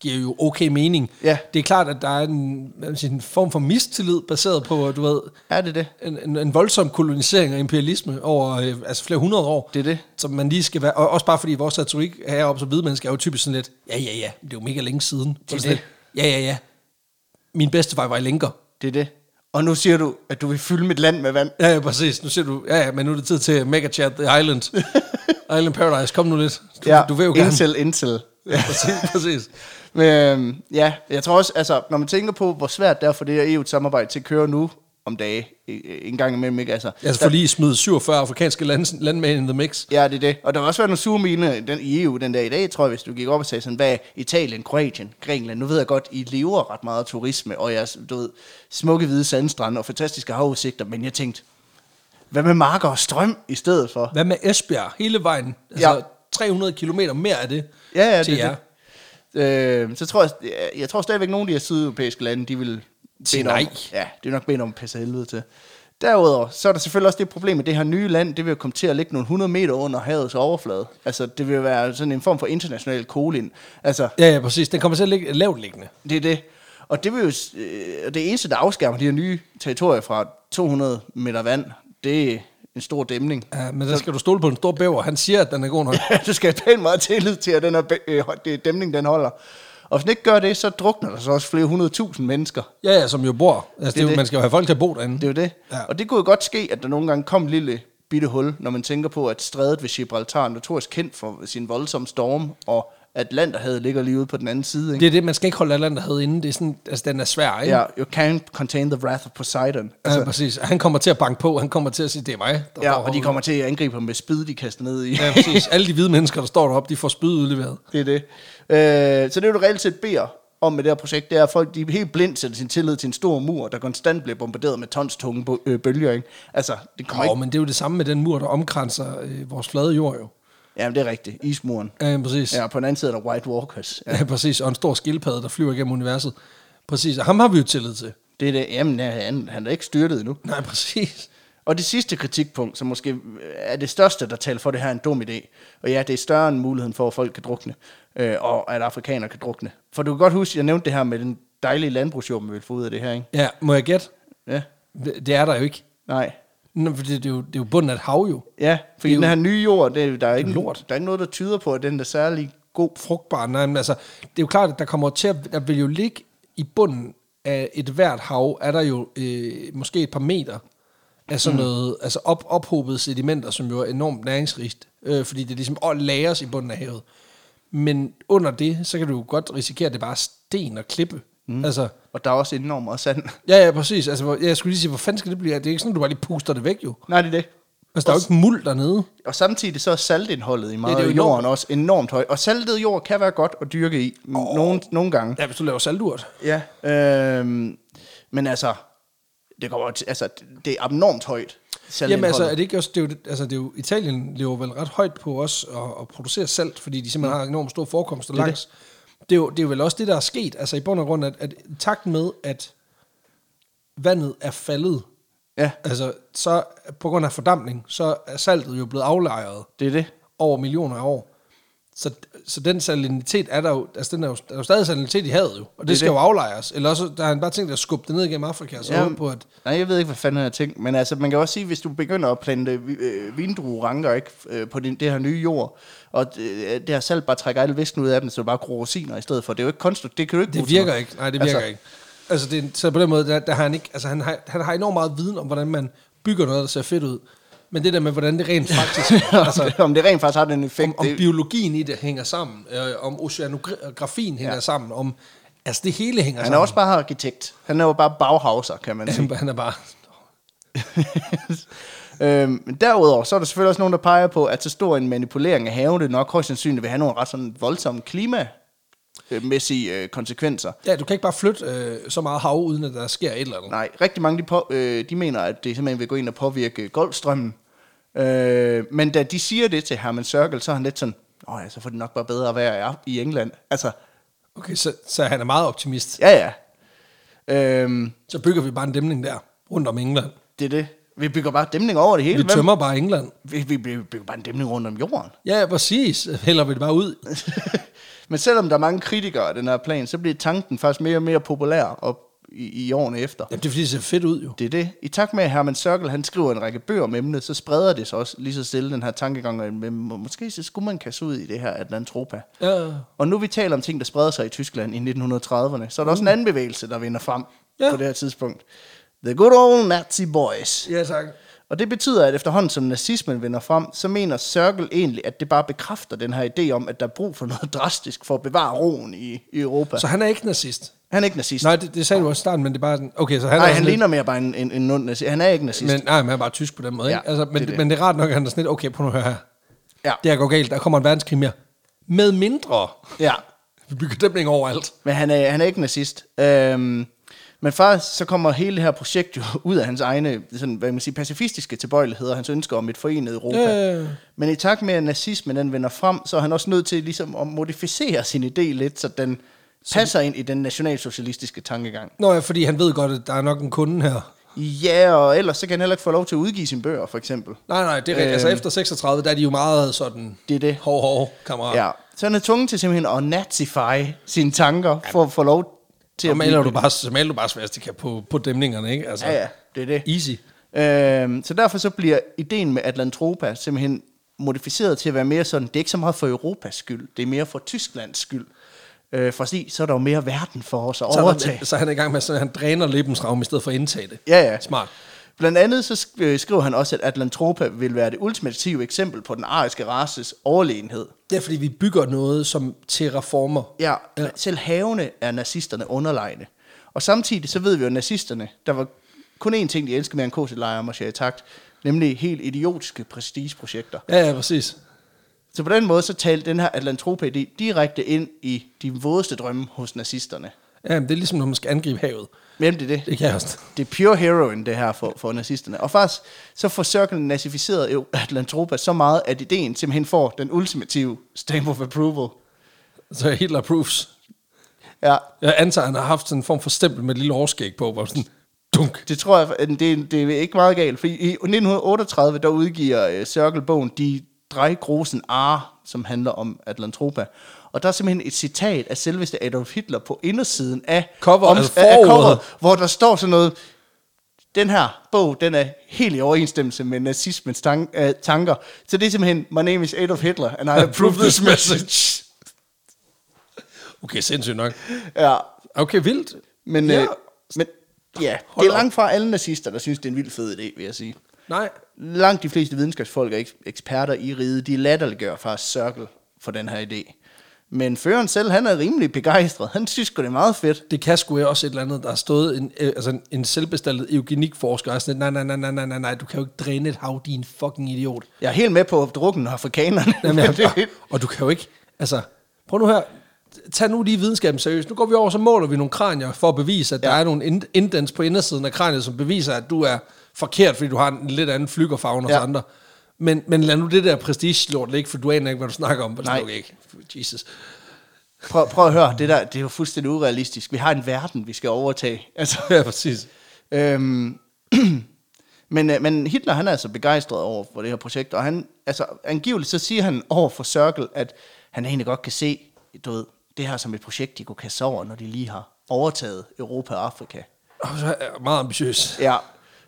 [SPEAKER 1] giver jo okay mening.
[SPEAKER 2] Ja.
[SPEAKER 1] Det er klart, at der er en, hvad man siger, en form for mistillid baseret på, du ved,
[SPEAKER 2] Er det det?
[SPEAKER 1] en, en, en voldsom kolonisering og imperialisme over øh, altså flere hundrede år.
[SPEAKER 2] Det er det.
[SPEAKER 1] Som man lige skal være, og også bare fordi vores retorik heroppe som hvide mennesker er jo typisk sådan lidt, ja, ja, ja, det er jo mega længe siden. Så
[SPEAKER 2] er
[SPEAKER 1] sådan
[SPEAKER 2] det.
[SPEAKER 1] lidt, Ja, ja, ja. Min bedstefar var i lænker.
[SPEAKER 2] Det er det. Og nu siger du, at du vil fylde mit land med vand.
[SPEAKER 1] Ja, ja, præcis. Nu siger du, ja, ja, men nu er det tid til Mega Chat The Island. Island Paradise, kom nu lidt. Du,
[SPEAKER 2] Ja,
[SPEAKER 1] du vil jo gerne.
[SPEAKER 2] Intel, Intel.
[SPEAKER 1] Ja, præcis, præcis.
[SPEAKER 2] Men øhm, ja, jeg tror også, altså, når man tænker på, hvor svært det er for det her EU-samarbejde til at køre nu om dage, øh, en gang imellem, ikke? Altså,
[SPEAKER 1] Altså for lige smide 47 afrikanske land, landmænd in the mix.
[SPEAKER 2] Ja, det er det. Og der vil også være nogle sure mine i den, i EU den dag i dag, tror jeg, hvis du gik op og sagde sådan, hvad er Italien, Kroatien, Grækenland, nu ved jeg godt, I lever ret meget af turisme, og jeres, du ved, smukke hvide sandstrande og fantastiske havudsigter, men jeg tænkte, hvad med marker og strøm i stedet for?
[SPEAKER 1] Hvad med Esbjerg hele vejen? Altså
[SPEAKER 2] Ja.
[SPEAKER 1] ja. 300 km mere af det
[SPEAKER 2] Ja, ja,
[SPEAKER 1] til
[SPEAKER 2] det, er
[SPEAKER 1] jer.
[SPEAKER 2] det. Øh, så tror jeg, jeg, jeg tror stadigvæk, nogle af de her sydeuropæiske lande, de vil
[SPEAKER 1] Sige
[SPEAKER 2] om,
[SPEAKER 1] nej.
[SPEAKER 2] ja, det er nok bede om at passe helvede til. Derudover, så er der selvfølgelig også det problem, at det her nye land, det vil jo komme til at ligge nogle 100 meter under havets overflade. Altså, det vil være sådan en form for international kolin. Altså,
[SPEAKER 1] Ja, ja, præcis. Den kommer til at ligge lavt liggende.
[SPEAKER 2] det er det. Og det, vil jo, s- øh, og det eneste, der afskærmer de her nye territorier fra 200 meter vand, det er en stor dæmning.
[SPEAKER 1] Ja, men der skal du stole på en stor bæver. Han siger, at den er god nok.
[SPEAKER 2] du skal have pænt meget tillid til, at den her bæ- øh, det er dæmning, den holder. Og hvis den ikke gør det, så drukner der så også flere hundredtusind mennesker.
[SPEAKER 1] Ja, ja, som jo bor. Altså, det er jo,
[SPEAKER 2] det.
[SPEAKER 1] Man skal jo have folk til at bo derinde.
[SPEAKER 2] Det er jo det. Ja.
[SPEAKER 1] Ja.
[SPEAKER 2] Og det kunne jo godt ske, at der nogle gange kom et lille bitte hul, når man tænker på, at strædet ved Gibraltar er notorisk kendt for sin voldsomme storm, og Atlanterhavet ligger lige ude på den anden side. Ikke?
[SPEAKER 1] Det er det, man skal ikke holde Atlanter havde inden. Det er sådan, altså, den er svær, ikke?
[SPEAKER 2] Ja, you can't contain the wrath of Poseidon.
[SPEAKER 1] altså, ja, præcis. Han kommer til at banke på. Han kommer til at sige, det er mig. Der står
[SPEAKER 2] Ja, og de
[SPEAKER 1] herude.
[SPEAKER 2] kommer til at angribe ham med spyd, de kaster ned i.
[SPEAKER 1] Ja, præcis. Alle de hvide mennesker, der står deroppe, de får spyd udleveret.
[SPEAKER 2] det er det. Øh, så det, du reelt set beder om med det her projekt, det er, at folk de er helt blindt sætter sin tillid til en stor mur, der konstant bliver bombarderet med tons tunge bo- øh, bølger. Ikke? Altså, det kommer
[SPEAKER 1] Åh,
[SPEAKER 2] ikke...
[SPEAKER 1] men det er jo det samme med den mur, der omkranser øh, vores flade jord jo.
[SPEAKER 2] Jamen, det er rigtigt. Ismuren.
[SPEAKER 1] Ja, ja, præcis.
[SPEAKER 2] Ja, og på den anden side er der White Walkers. Ja,
[SPEAKER 1] Ja, præcis. Og en stor skildpadde, der flyver gennem universet. Præcis, og ham har vi jo tillid til.
[SPEAKER 2] det er det. Jamen, ja, han, han er ikke styrtet endnu.
[SPEAKER 1] Nej, præcis.
[SPEAKER 2] Og det sidste kritikpunkt, som måske er det største, der taler for, at det her er en dum idé. Og ja, det er større end muligheden for, at folk kan drukne, øh, og at afrikanere kan drukne. For du kan godt huske, jeg nævnte det her med den dejlige landbrugsjord, vi vil få ud af det her, ikke?
[SPEAKER 1] Ja, må jeg gætte?
[SPEAKER 2] Ja,
[SPEAKER 1] Det det er der jo ikke.
[SPEAKER 2] nej.
[SPEAKER 1] Nå, for det, det, er jo, det er jo bunden af et hav jo.
[SPEAKER 2] Ja, fordi
[SPEAKER 1] Det er
[SPEAKER 2] den
[SPEAKER 1] jo-
[SPEAKER 2] her nye jord, det, der, er ikke,
[SPEAKER 1] lort.
[SPEAKER 2] der er ikke noget, der tyder på, at den er særlig god.
[SPEAKER 1] Frugtbar. Nej, men altså, det er jo klart, at der kommer til at, der vil jo ligge i bunden af et hvert hav, er der jo øh, måske et par meter af sådan noget, altså op, ophobede sedimenter, som jo er enormt næringsrigt, øh, fordi det ligesom og lagres i bunden af havet. Men under det, så kan du jo godt risikere, at det bare er sten og klippe. Mm. Altså,
[SPEAKER 2] Og der er også enormt meget sand.
[SPEAKER 1] Ja, ja, præcis. Altså, hvor- jeg skulle lige sige, hvor fanden skal det blive? af? Det er ikke sådan, at du bare lige puster det væk, jo.
[SPEAKER 2] Nej, det er det.
[SPEAKER 1] Altså, der er jo ikke muld dernede.
[SPEAKER 2] Og samtidig så er saltindholdet i meget
[SPEAKER 1] det
[SPEAKER 2] af
[SPEAKER 1] er jo
[SPEAKER 2] jorden
[SPEAKER 1] enormt.
[SPEAKER 2] også enormt højt. Og saltet jord kan være godt at dyrke i, oh. nogle, nogle gange.
[SPEAKER 1] Ja, hvis du laver salturt.
[SPEAKER 2] Ja. Øhm, men altså, det, kommer, til- altså, det er abnormt højt.
[SPEAKER 1] Jamen, altså, er
[SPEAKER 2] saltindholdet.
[SPEAKER 1] det ikke også, det er jo, altså, det er jo, Italien lever vel ret højt på os at, at producere salt, fordi de simpelthen har enormt store forekomster
[SPEAKER 2] Mm. Det er
[SPEAKER 1] langs. Det. er jo, det er jo vel også det, der er sket, altså i bund og grund, at, at i takt med, at vandet er faldet,
[SPEAKER 2] Ja,
[SPEAKER 1] altså så på grund af fordampning, så er saltet jo blevet aflejret
[SPEAKER 2] det er det.
[SPEAKER 1] over millioner af år. Så, så den salinitet er der jo, altså den er jo, der er jo stadig salinitet i havet jo, og det,
[SPEAKER 2] Det er
[SPEAKER 1] det skal
[SPEAKER 2] det.
[SPEAKER 1] jo aflejres. Eller også, der har han bare tænkt at skubbe det ned gennem Afrika, og så
[SPEAKER 2] Ja.
[SPEAKER 1] håbe på, at
[SPEAKER 2] Nej, jeg ved ikke, hvad fanden jeg tænkt. Men altså, man kan også sige, hvis du begynder at plante vi- øh, vindrueranker ikke, øh, på din, det her nye jord, og øh, det her salt bare trækker alle væsken ud af dem, så du bare gruer rosiner i stedet for. Det er jo ikke konstruktivt. Det kan du ikke bruge
[SPEAKER 1] det
[SPEAKER 2] til
[SPEAKER 1] virker
[SPEAKER 2] noget.
[SPEAKER 1] ikke. Nej, det virker
[SPEAKER 2] altså,
[SPEAKER 1] altså, ikke. Altså, det, så på den måde, der, der har han ikke, altså han har, han har enormt meget viden om, hvordan man bygger noget, der ser fedt ud. Men det der med, hvordan det rent faktisk, altså,
[SPEAKER 2] om det rent faktisk har den effekt.
[SPEAKER 1] om, om
[SPEAKER 2] det,
[SPEAKER 1] biologien i det hænger sammen, øh, om oceanografien hænger
[SPEAKER 2] Ja.
[SPEAKER 1] ja. sammen, om, altså det hele hænger
[SPEAKER 2] han er
[SPEAKER 1] sammen.
[SPEAKER 2] også bare arkitekt. Han er jo bare baghauser, kan man sige.
[SPEAKER 1] han er bare,
[SPEAKER 2] Øhm, men derudover, så er der selvfølgelig også nogen, der peger på, at så stor en manipulering af haven, det nok højst sandsynligt vil have nogle ret sådan voldsomme klimamæssige øh, konsekvenser.
[SPEAKER 1] ja, du kan ikke bare flytte øh, så meget hav, uden at der sker et eller andet.
[SPEAKER 2] Nej, rigtig mange de, på, øh, de mener, at det simpelthen vil gå ind og påvirke golfstrømmen. Øh, men da de siger det til Herman Sørgel, så er han lidt sådan, åh ja, så får det nok bare bedre at være i- i England. Altså,
[SPEAKER 1] Okay, så, så han er meget optimist.
[SPEAKER 2] ja ja. Øhm,
[SPEAKER 1] Så bygger vi bare en dæmning der, rundt om England.
[SPEAKER 2] det er det. Vi bygger bare dæmning over det hele.
[SPEAKER 1] Vi
[SPEAKER 2] Hvem-
[SPEAKER 1] tømmer bare England.
[SPEAKER 2] Vi, vi, vi bygger bare en dæmning rundt om jorden.
[SPEAKER 1] Ja, ja, præcis. Hælder vi det bare ud.
[SPEAKER 2] Men selvom der er mange kritikere af den her plan, så bliver tanken faktisk mere og mere populær op i, i årene efter.
[SPEAKER 1] Jamen, det er fordi, det ser fedt ud jo.
[SPEAKER 2] Det er det. I takt med, at Herman Sørkel han skriver en række bøger om emnet, så spreder det sig også lige så stille den her tankegang, men må- måske så skulle man kasse ud i det her Atlantropa.
[SPEAKER 1] Ja, ja.
[SPEAKER 2] Og nu vi taler om ting, der spreder sig i Tyskland i 1930'erne, så er der også en anden bevægelse, der vinder frem
[SPEAKER 1] Mm. Ja.
[SPEAKER 2] på det her tidspunkt. The good old Nazi boys.
[SPEAKER 1] Ja, tak.
[SPEAKER 2] Og det betyder, at efterhånden som nazismen vinder frem, så mener Circle egentlig, at det bare bekræfter den her idé om, at der er brug for noget drastisk for at bevare roen i, i Europa.
[SPEAKER 1] Så
[SPEAKER 2] Så,
[SPEAKER 1] han er ikke nazist?
[SPEAKER 2] han er ikke nazist.
[SPEAKER 1] Nej, det, det sagde du også i starten, men det er bare sådan... Okay, så han
[SPEAKER 2] Nej,
[SPEAKER 1] er
[SPEAKER 2] han
[SPEAKER 1] sådan lidt-
[SPEAKER 2] ligner mere bare en, en, en ond nazist. Han er ikke nazist.
[SPEAKER 1] Men, nej, men han er bare tysk på den måde,
[SPEAKER 2] Ja,
[SPEAKER 1] ja, ikke? Altså, men,
[SPEAKER 2] det
[SPEAKER 1] det,
[SPEAKER 2] er det.
[SPEAKER 1] det. men det er rart nok, at han er sådan lidt... Okay, prøv nu at høre her.
[SPEAKER 2] ja.
[SPEAKER 1] Det her går galt. Der kommer en verdenskrig mere. Med mindre.
[SPEAKER 2] ja.
[SPEAKER 1] Vi bygger dæmning overalt.
[SPEAKER 2] Men han er, han er ikke nazist. Øhm, men faktisk så kommer hele det her projekt jo ud af hans egne sådan, hvad kan man sige, pacifistiske tilbøjeligheder, hans ønsker om et forenet Europa.
[SPEAKER 1] Øh.
[SPEAKER 2] Men i takt med, at nazismen den vender frem, så er han også nødt til ligesom at modificere sin idé lidt, så den passer ind i den nationalsocialistiske tankegang.
[SPEAKER 1] Nå ja, fordi han ved godt, at der er nok en kunde her.
[SPEAKER 2] Ja, og ellers så kan han heller ikke få lov til at udgive sine bøger, for eksempel.
[SPEAKER 1] Nej, nej, det er rigtigt. Øh. Altså efter 36, der er de jo meget sådan...
[SPEAKER 2] Det er det.
[SPEAKER 1] Hov, hov, kammerat.
[SPEAKER 2] Ja. Så han er tvunget til simpelthen at nazify sine tanker, for at få lov til
[SPEAKER 1] Så
[SPEAKER 2] at
[SPEAKER 1] maler du bare, så maler du bare svastika på, på dæmningerne, ikke? Altså,
[SPEAKER 2] Ja, ja, det er det.
[SPEAKER 1] Easy.
[SPEAKER 2] Øhm, så derfor så bliver ideen med Atlantropa simpelthen modificeret til at være mere sådan, det er ikke så meget for Europas skyld, det er mere for Tysklands skyld. Øh, for at sige, så er der jo mere verden for os at
[SPEAKER 1] Så,
[SPEAKER 2] overtage.
[SPEAKER 1] er der- så er han er i gang med, at han dræner læbensravn i stedet for at indtage det.
[SPEAKER 2] Ja, ja.
[SPEAKER 1] Smart.
[SPEAKER 2] Blandt andet så sk- øh, skriver han også, at Atlantropa vil være det ultimative eksempel på den ariske races overlegenhed.
[SPEAKER 1] Det er, fordi vi bygger noget som terraformer.
[SPEAKER 2] Ja, ja. selv havene er nazisterne underlegne. Og samtidig så ved vi jo, at nazisterne, der var kun én ting, de elskede mere end KC-lejre og marchere i takt, nemlig helt idiotiske prestigeprojekter.
[SPEAKER 1] Ja, ja, præcis.
[SPEAKER 2] Så på den måde så talte den her atlantropa-idé direkte ind i de vådeste drømme hos nazisterne.
[SPEAKER 1] Ja, men det er ligesom, når man skal angribe havet.
[SPEAKER 2] Hvem det er det?
[SPEAKER 1] Det kan jeg også.
[SPEAKER 2] Det er pure heroin, det her for, for nazisterne. Og faktisk så får Circle nazificeret eu- Atlantropa så meget, at ideen simpelthen får den ultimative stamp of approval.
[SPEAKER 1] Så Hitler approves.
[SPEAKER 2] Ja,
[SPEAKER 1] Jeg antager, han har haft sådan en form for stempel med et lille overskæg på, hvor sådan, dunk.
[SPEAKER 2] det tror jeg, at det, er- det er ikke meget galt. For i i 1938, der udgiver uh, Circle bogen De Drejgrosen Ar, som handler om Atlantropa. Og der er simpelthen et citat af selveste Adolf Hitler på indersiden af,
[SPEAKER 1] Cover,
[SPEAKER 2] om,
[SPEAKER 1] altså
[SPEAKER 2] af
[SPEAKER 1] forordet.
[SPEAKER 2] coveret, hvor der står sådan noget, den her bog, den er helt i overensstemmelse med nazismens tank, uh, tanker. Så det er simpelthen, my name is Adolf Hitler, and I approve this message.
[SPEAKER 1] Okay, sindssygt nok.
[SPEAKER 2] Ja,
[SPEAKER 1] Okay, vildt.
[SPEAKER 2] men, ja.
[SPEAKER 1] ja.
[SPEAKER 2] Øh, men ja,
[SPEAKER 1] Hold
[SPEAKER 2] det er
[SPEAKER 1] op.
[SPEAKER 2] langt fra alle nazister, der synes, det er en vild fed idé, vil jeg sige.
[SPEAKER 1] Nej,
[SPEAKER 2] langt de fleste videnskabsfolk og eks- eksperter i riget, de latterliggør faktisk Circle for den her idé. Men føreren selv, han er rimelig begejstret. Han synes sgu, det er meget fedt.
[SPEAKER 1] det kan sgu være også et eller andet, der har stået en, øh, altså en, en selvbestallet eugenikforsker, og er sådan lidt, nej, nej, nej, nej, nej, nej, nej, du kan jo ikke dræne et hav, din fucking idiot.
[SPEAKER 2] Jeg er helt med på at drukken afrikanerne.
[SPEAKER 1] Jamen,
[SPEAKER 2] men det,
[SPEAKER 1] jeg, og du kan jo ikke, altså, prøv nu her, tag nu lige videnskaben seriøst. Nu går vi over, så måler vi nogle kranier for at bevise, at ja. der er nogle ind- indens på indersiden af kraniet, som beviser, at du er forkert, fordi du har en lidt anden flykkerfarve end ja.
[SPEAKER 2] Ja.
[SPEAKER 1] os andre. Men, men lad nu det der prestige-lort ligge, for du aner ikke, hvad du snakker om. og Det
[SPEAKER 2] Nej.
[SPEAKER 1] Nej. ikke. Jesus.
[SPEAKER 2] prøv, prøv at høre, det der, det er jo fuldstændig urealistisk. Vi har en verden, vi skal overtage. Altså,
[SPEAKER 1] Ja, præcis.
[SPEAKER 2] Øhm, men, øh, men Hitler, han er altså begejstret over for det her projekt, og han, altså, angiveligt så siger han over for Circle, at han egentlig godt kan se, du ved, det her som et projekt, de kunne kaste over, når de lige har overtaget Europa og Afrika.
[SPEAKER 1] Og så er jeg meget ambitiøs.
[SPEAKER 2] Ja.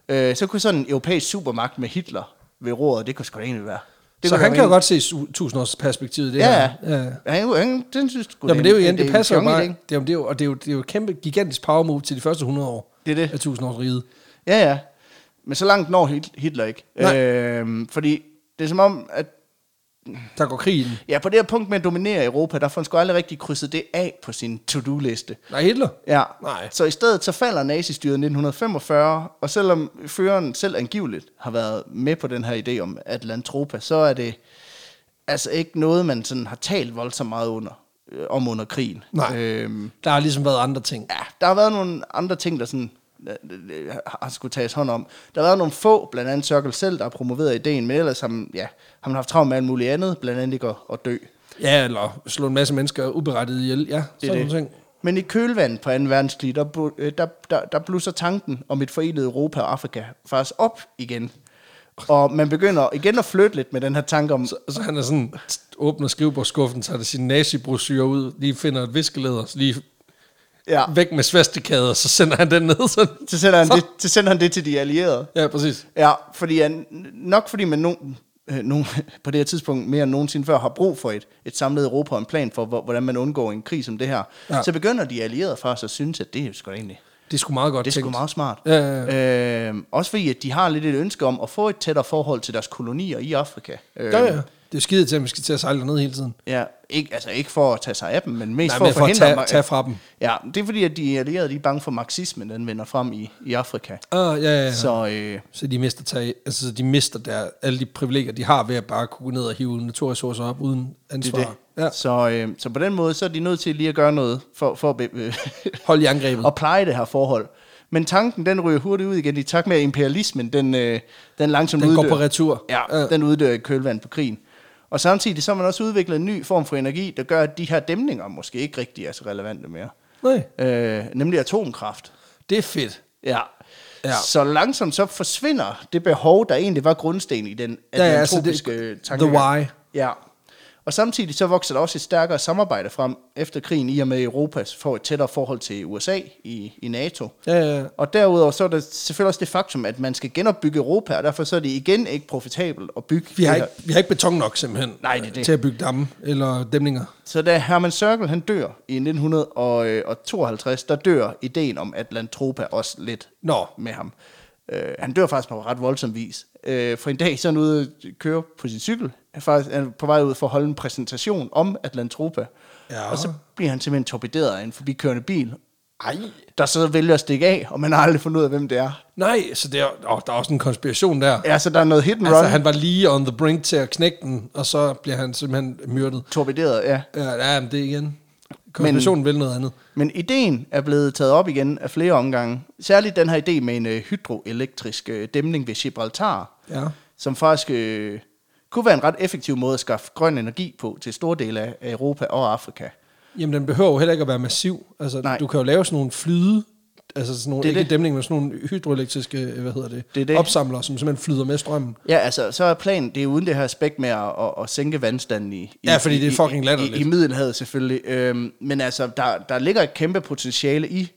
[SPEAKER 2] Øh, så kunne sådan en europæisk supermagt med Hitler ved roret, det kunne sgu da egentlig være. Det
[SPEAKER 1] Det så
[SPEAKER 2] kunne
[SPEAKER 1] han
[SPEAKER 2] være
[SPEAKER 1] kan jo
[SPEAKER 2] en-
[SPEAKER 1] godt se su- tusindårsperspektivet i det
[SPEAKER 2] Ja,
[SPEAKER 1] her. Ja.
[SPEAKER 2] ja. Han, han, den synes sgu,
[SPEAKER 1] Nå, men det er jo
[SPEAKER 2] en-
[SPEAKER 1] igen, det,
[SPEAKER 2] en
[SPEAKER 1] passer jo
[SPEAKER 2] fjong
[SPEAKER 1] bare.
[SPEAKER 2] idé.
[SPEAKER 1] Det er, jo- det er jo, og det er, jo, det er jo et kæmpe, gigantisk power move til de første 100 år
[SPEAKER 2] Det er det.
[SPEAKER 1] af tusindårsriget.
[SPEAKER 2] Ja, ja. Men så langt når Hit- Hitler ikke.
[SPEAKER 1] Nej.
[SPEAKER 2] Øhm, fordi det er som om, at
[SPEAKER 1] Der går krigen.
[SPEAKER 2] Ja, på det her punkt med at dominere Europa, der får han sgu aldrig rigtig krydset det af på sin to-do-liste.
[SPEAKER 1] Nej, Hitler.
[SPEAKER 2] Ja,
[SPEAKER 1] Nej.
[SPEAKER 2] så i stedet så falder nazistyret i 1945, og selvom føreren selv angiveligt har været med på den her idé om Atlantropa, så er det altså ikke noget, man sådan har talt voldsomt meget under, øh, om under krigen.
[SPEAKER 1] Nej.
[SPEAKER 2] Øhm,
[SPEAKER 1] Der har ligesom været andre ting.
[SPEAKER 2] ja, der har været nogle andre ting, der sådan øh, øh, har skulle tages hånd om. Der har været nogle få, blandt andet Circle selv, der har promoveret ideen, men ellers har man, ja, har man haft travlt med alt muligt andet, blandt andet ikke at, at dø.
[SPEAKER 1] Ja, eller slå en masse mennesker uberettiget ihjel. Ja,
[SPEAKER 2] Det er
[SPEAKER 1] sådan nogle ting.
[SPEAKER 2] det. Men i kølvandet på 2. verdenskrig, der, blu- øh, der, der, der blusser tanken om et forenet Europa og Afrika faktisk op igen. Og man begynder igen at flytte lidt med den her tanke om...
[SPEAKER 1] Og så han er sådan, tst, åbner skrivebordskuffen, tager det sine nazibrosure ud, lige finder et viskeleder, så lige
[SPEAKER 2] Ja,
[SPEAKER 1] væk med svastikader, så sender han den ned. Sådan.
[SPEAKER 2] så sender, han det, så sender han det til de allierede.
[SPEAKER 1] Ja, præcis.
[SPEAKER 2] Ja, fordi han, nok fordi man no, øh, nogen, på det her tidspunkt mere end nogensinde før har brug for et, et samlet Europa og en plan for, hvor- hvordan man undgår en krig som det her, ja.
[SPEAKER 1] Ja.
[SPEAKER 2] så begynder de allierede faktisk at synes, at det er jo sgu da egentlig...
[SPEAKER 1] Det er sgu meget godt
[SPEAKER 2] Det er sgu
[SPEAKER 1] tænkt.
[SPEAKER 2] meget smart.
[SPEAKER 1] Ja, ja,
[SPEAKER 2] Øh, også fordi, at de har lidt et ønske om at få et tættere forhold til deres kolonier i Afrika. Øh,
[SPEAKER 1] Ja, ja. Det er jo skide til, at man skal til at sejle derned hele tiden.
[SPEAKER 2] Ja, ikke, altså ikke for at tage sig af dem, men mest
[SPEAKER 1] Nej,
[SPEAKER 2] for
[SPEAKER 1] men
[SPEAKER 2] at
[SPEAKER 1] for at
[SPEAKER 2] forhindre
[SPEAKER 1] tage, tage fra dem.
[SPEAKER 2] Ja, det er fordi, at de allierede de er bange for marxismen, den vender frem i, i Afrika.
[SPEAKER 1] Ah, ja, ja, ja. Så.
[SPEAKER 2] Så øh,
[SPEAKER 1] så de mister, tage, altså, de mister der, alle de privilegier, de har ved at bare kunne gå ned og hive naturressourcer op uden
[SPEAKER 2] det
[SPEAKER 1] ansvar.
[SPEAKER 2] er det.
[SPEAKER 1] Ja.
[SPEAKER 2] Så, øh, så på den måde, så er de nødt til lige at gøre noget for, for at, be- øh,
[SPEAKER 1] Hold i angrebet.
[SPEAKER 2] at pleje det her forhold. Men tanken, den ryger hurtigt ud igen, i takt med at imperialismen, den, øh, den langsomt
[SPEAKER 1] Den går
[SPEAKER 2] uddør.
[SPEAKER 1] på retur.
[SPEAKER 2] Ja,
[SPEAKER 1] Ja.
[SPEAKER 2] den uddør i kølvandet på krigen. Og samtidig så har man også udviklet en ny form for energi, der gør, at de her dæmninger måske ikke rigtig er så relevante mere.
[SPEAKER 1] Nej,
[SPEAKER 2] Øh, nemlig atomkraft.
[SPEAKER 1] det er fedt.
[SPEAKER 2] Ja.
[SPEAKER 1] Ja.
[SPEAKER 2] ja. Så langsomt så forsvinder det behov, der egentlig var grundsten i den
[SPEAKER 1] Ja, ja, altså
[SPEAKER 2] atlantropiske ja,
[SPEAKER 1] det-
[SPEAKER 2] altså tanke.
[SPEAKER 1] the why.
[SPEAKER 2] Ja. Og samtidig så vokser der også et stærkere samarbejde frem efter krigen, i og med at Europa får et tættere forhold til USA i, i NATO.
[SPEAKER 1] Ja, ja, ja.
[SPEAKER 2] Og derudover så er der selvfølgelig også det faktum, at man skal genopbygge Europa, og derfor så er det igen ikke profitabelt at bygge
[SPEAKER 1] Vi har,
[SPEAKER 2] det her.
[SPEAKER 1] ikke, vi har ikke beton nok simpelthen øh,
[SPEAKER 2] Nej, det er det.
[SPEAKER 1] til at bygge damme eller dæmninger.
[SPEAKER 2] Så da Herman Sørkel han dør i 1952, øh, der dør ideen om Atlantropa også lidt
[SPEAKER 1] Nå.
[SPEAKER 2] med ham. Øh, han dør faktisk på ret voldsom vis. Øh, for en dag så er han ude at køre på sin cykel. Han er faktisk han er på vej ud for at holde en præsentation om Atlantropa.
[SPEAKER 1] Ja.
[SPEAKER 2] Og så bliver han simpelthen torpederet af en forbikørende bil. Ej. Der så vælger at stikke af, og man har aldrig fundet ud af, hvem det er.
[SPEAKER 1] Nej, så det er, åh, der er også en konspiration der.
[SPEAKER 2] Ja, så der er noget hit and run.
[SPEAKER 1] Altså, han var lige on the brink til at knække den, og så bliver han simpelthen myrdet.
[SPEAKER 2] Torpederet, ja.
[SPEAKER 1] Ja, ja men det er igen. Konspirationen vil noget andet.
[SPEAKER 2] Men ideen er blevet taget op igen af flere omgange. Særligt den her idé med en øh, hydroelektrisk øh, dæmning ved Gibraltar,
[SPEAKER 1] Ja.
[SPEAKER 2] som faktisk øh, kunne være en ret effektiv måde at skaffe grøn energi på til store dele af af Europa og Afrika.
[SPEAKER 1] Jamen, den behøver jo heller ikke at være massiv. Altså,
[SPEAKER 2] Nej.
[SPEAKER 1] du kan jo lave sådan nogle flyde, altså sådan nogle,
[SPEAKER 2] Det er
[SPEAKER 1] ikke
[SPEAKER 2] det.
[SPEAKER 1] dæmning, men sådan nogle hydroelektriske, øh, hvad hedder det,
[SPEAKER 2] Det er det.
[SPEAKER 1] opsamlere, som simpelthen flyder med strømmen.
[SPEAKER 2] Ja, altså, så er planen, det er uden det her aspekt med at, at, at sænke vandstanden i, i
[SPEAKER 1] Ja, fordi det er
[SPEAKER 2] i-
[SPEAKER 1] fucking
[SPEAKER 2] i,
[SPEAKER 1] latterligt.
[SPEAKER 2] i, i Middelhavet selvfølgelig. Øhm, men altså, der, der ligger et kæmpe potentiale i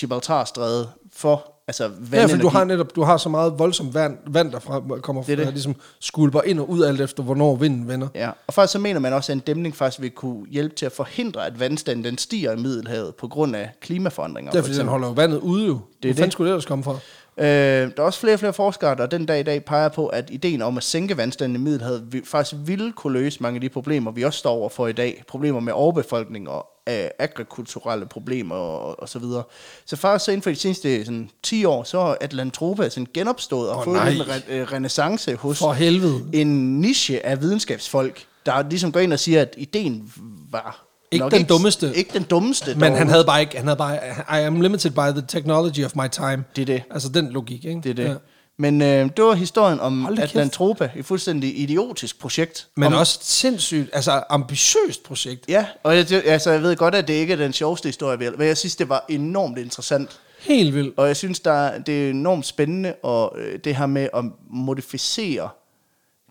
[SPEAKER 2] Gibraltarstrædet for altså,
[SPEAKER 1] Ja,
[SPEAKER 2] vandenergi.
[SPEAKER 1] for du har netop du har så meget voldsomt vand, vand der fra, kommer fra,
[SPEAKER 2] Det er det.
[SPEAKER 1] der ligesom skulper ind og ud alt efter, hvornår vinden vender.
[SPEAKER 2] Ja, og faktisk så mener man også, at en dæmning faktisk vil kunne hjælpe til at forhindre, at vandstanden den stiger i Middelhavet på grund af klimaforandringer.
[SPEAKER 1] Det er
[SPEAKER 2] for
[SPEAKER 1] fordi, den
[SPEAKER 2] eksempel.
[SPEAKER 1] holder jo vandet ude jo. Det Hvor
[SPEAKER 2] det.
[SPEAKER 1] fanden skulle det ellers komme fra?
[SPEAKER 2] øh, der er også flere og flere forskere, der den dag i dag peger på, at ideen om at sænke vandstanden i Middelhavet vil, faktisk ville kunne løse mange af de problemer, vi også står over for i dag. Problemer med overbefolkning og øh, agrikulturelle problemer og, og så videre. Så faktisk så inden for de seneste sådan, 10 år, så er Atlantropa sådan genopstået og
[SPEAKER 1] Åh,
[SPEAKER 2] oh, fået
[SPEAKER 1] nej.
[SPEAKER 2] nej. en re- øh, renaissance hos
[SPEAKER 1] For helvede.
[SPEAKER 2] en niche af videnskabsfolk, der ligesom går ind og siger, at ideen var
[SPEAKER 1] Ikke
[SPEAKER 2] nok
[SPEAKER 1] den dummeste.
[SPEAKER 2] Ikke den dummeste.
[SPEAKER 1] Men
[SPEAKER 2] dog.
[SPEAKER 1] han havde bare ikke, han havde bare, I am limited by the technology of my time.
[SPEAKER 2] Det er det.
[SPEAKER 1] Altså den logik, ikke?
[SPEAKER 2] Det er det.
[SPEAKER 1] Ja.
[SPEAKER 2] Ja. Men øh, det var historien om
[SPEAKER 1] Hold da kæft.
[SPEAKER 2] Atlantropa, et fuldstændig idiotisk projekt.
[SPEAKER 1] Men
[SPEAKER 2] om,
[SPEAKER 1] også et sindssygt, altså ambitiøst projekt.
[SPEAKER 2] Ja, og jeg, det- altså, jeg ved godt, at det ikke er den sjoveste historie, vel, men jeg synes, det var enormt interessant.
[SPEAKER 1] Helt vildt.
[SPEAKER 2] Og jeg synes, der, er- det er enormt spændende, og øh, det her med at modificere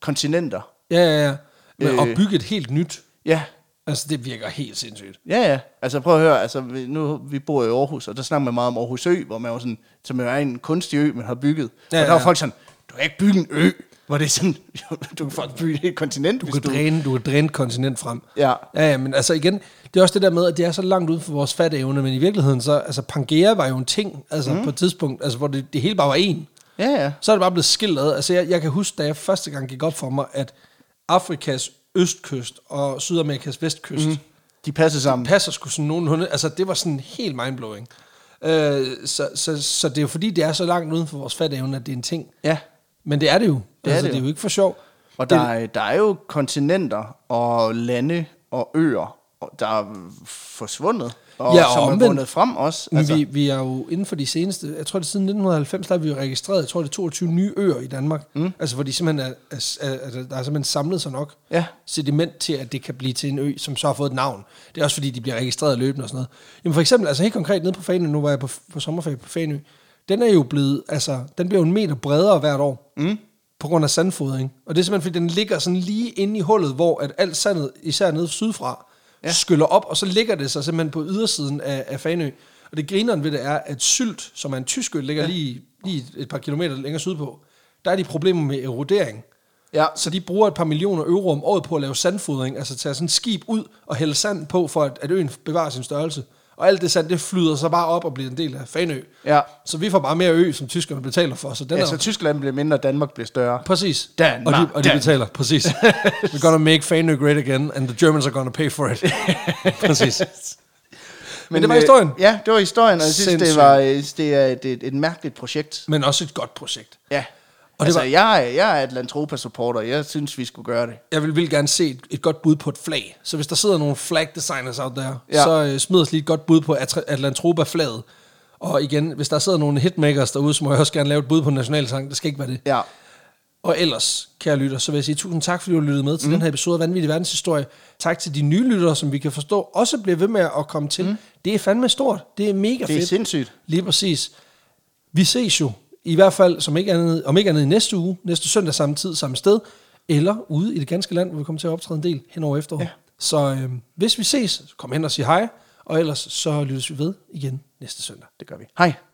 [SPEAKER 2] kontinenter.
[SPEAKER 1] Ja, ja, ja. Men øh.
[SPEAKER 2] Øh.
[SPEAKER 1] at bygge et helt nyt,
[SPEAKER 2] Ja,
[SPEAKER 1] altså det virker helt sindssygt.
[SPEAKER 2] Ja, ja. Altså prøv at høre, altså, vi, nu, vi bor i Aarhus, og der snakker man meget om Aarhus Ø, hvor man jo sådan, som jo er en kunstig ø, man har bygget.
[SPEAKER 1] Ja,
[SPEAKER 2] Ja, og der
[SPEAKER 1] ja.
[SPEAKER 2] var folk sådan, du kan ikke bygge en ø, hvor det er sådan, du kan faktisk bygge et helt kontinent,
[SPEAKER 1] Du kan, dræne, du kan dræne et kontinent frem.
[SPEAKER 2] Ja.
[SPEAKER 1] ja. Ja, men altså igen, det er også det der med, at det er så langt uden for vores fatteevne, men i virkeligheden så, altså Pangea var jo en ting, altså
[SPEAKER 2] Mhm.
[SPEAKER 1] mm. på et tidspunkt, altså hvor det, det hele bare var en.
[SPEAKER 2] Ja, ja.
[SPEAKER 1] Så er det bare blevet skilt ad. Altså jeg, jeg kan huske, da jeg første gang gik op for mig, at Afrikas østkyst og Sydamerikas vestkyst,
[SPEAKER 2] Mhm.
[SPEAKER 1] mm.
[SPEAKER 2] De passer sammen.
[SPEAKER 1] passer sgu sådan nogenlunde. Altså, det var sådan helt mindblowing. Øh, så, så, så det er jo fordi, det er så langt uden for vores fatteevne, at det er en ting.
[SPEAKER 2] Ja.
[SPEAKER 1] Men det er det jo. Det
[SPEAKER 2] er
[SPEAKER 1] altså,
[SPEAKER 2] det
[SPEAKER 1] det er
[SPEAKER 2] jo.
[SPEAKER 1] jo ikke for sjov.
[SPEAKER 2] Og
[SPEAKER 1] Det-
[SPEAKER 2] der, er, der er jo kontinenter og lande og øer, og der er forsvundet, og,
[SPEAKER 1] Ja, og
[SPEAKER 2] som
[SPEAKER 1] omvendt.
[SPEAKER 2] er vundet frem også.
[SPEAKER 1] Men
[SPEAKER 2] Altså,
[SPEAKER 1] vi, vi er jo inden for de seneste, jeg tror det er siden 1990, der har vi jo registreret, jeg tror det er 22 nye øer i Danmark. Mm. Altså hvor de simpelthen er, er, er, er, der er simpelthen samlet sig nok
[SPEAKER 2] Ja.
[SPEAKER 1] sediment til, at det kan blive til en ø, som så har fået et navn. Det er også fordi, de bliver registreret løbende og sådan noget. Jamen for eksempel, altså helt konkret nede på Fanø, nu var jeg på, på sommerferie på Fanø, den er jo blevet, altså den bliver jo en meter bredere hvert år. Mm. På grund af sandfodring. Og det er simpelthen, fordi den ligger sådan lige inde i hullet, hvor at alt sandet, især nede sydfra, ja. skyller op, og så ligger det sig simpelthen på ydersiden af, af Fanø. Og det grineren ved det er, at Sylt, som er en tysk ø, ligger ja. lige, lige et par kilometer længere sydpå, der er de problemer med erodering.
[SPEAKER 2] ja,
[SPEAKER 1] Så de bruger et par millioner euro om året på at lave sandfodring, altså tage sådan et skib ud og hælde sand på, for at, at øen bevarer sin størrelse. Og alt det sand, det flyder så bare op og bliver en del af Fanø.
[SPEAKER 2] Ja.
[SPEAKER 1] Så vi får bare mere ø, som tyskerne betaler for. Så den
[SPEAKER 2] Ja,
[SPEAKER 1] er
[SPEAKER 2] så Altså, Tyskland bliver mindre, og Danmark bliver større.
[SPEAKER 1] Præcis.
[SPEAKER 2] Danmark,
[SPEAKER 1] og de, og de
[SPEAKER 2] Danmark.
[SPEAKER 1] betaler, præcis. We're gonna make Fanø great again, and the Germans are gonna pay for it. præcis. Men det var
[SPEAKER 2] øh,
[SPEAKER 1] historien.
[SPEAKER 2] Ja, det var historien, og jeg synes, det,
[SPEAKER 1] Sindssygt.
[SPEAKER 2] var, øh, det er et, et, et mærkeligt projekt.
[SPEAKER 1] Men også et godt projekt.
[SPEAKER 2] Ja.
[SPEAKER 1] Og det
[SPEAKER 2] Og altså,
[SPEAKER 1] var-
[SPEAKER 2] var... jeg, er- jeg er Atlantropa-supporter, jeg synes, vi skulle gøre det.
[SPEAKER 1] Jeg vil vildt gerne se et, et godt bud på et flag. Så hvis der sidder nogle flag designers out there, ja.
[SPEAKER 2] Ja.
[SPEAKER 1] så øh, smid os lige et godt bud på Atra- Atlantropa-flaget. Og igen, hvis der sidder nogle hitmakers derude, så må jeg også gerne lave et bud på en nationalsang. Det skal ikke være det.
[SPEAKER 2] Ja.
[SPEAKER 1] Og ellers, kære lytter, så vil jeg sige tusind tak, fordi du har lyttet med til mm. den her episode af Vanvittig Verdenshistorie. Tak til de nye lyttere, som vi kan forstå også bliver ved med at komme til. Mm. Det er fandme stort. Det er mega fedt.
[SPEAKER 2] Det er sindssygt.
[SPEAKER 1] Lige præcis. Vi ses jo, i hvert fald som ikke andet, om ikke andet i næste uge, næste søndag samme tid, samme sted, eller ude i det ganske land, hvor vi kommer til at optræde en del hen over efteråret. Ja. Så øh, hvis vi ses, så kom hen og sig hej, og ellers så lyttes vi ved igen næste søndag.
[SPEAKER 2] Det gør vi. Hej.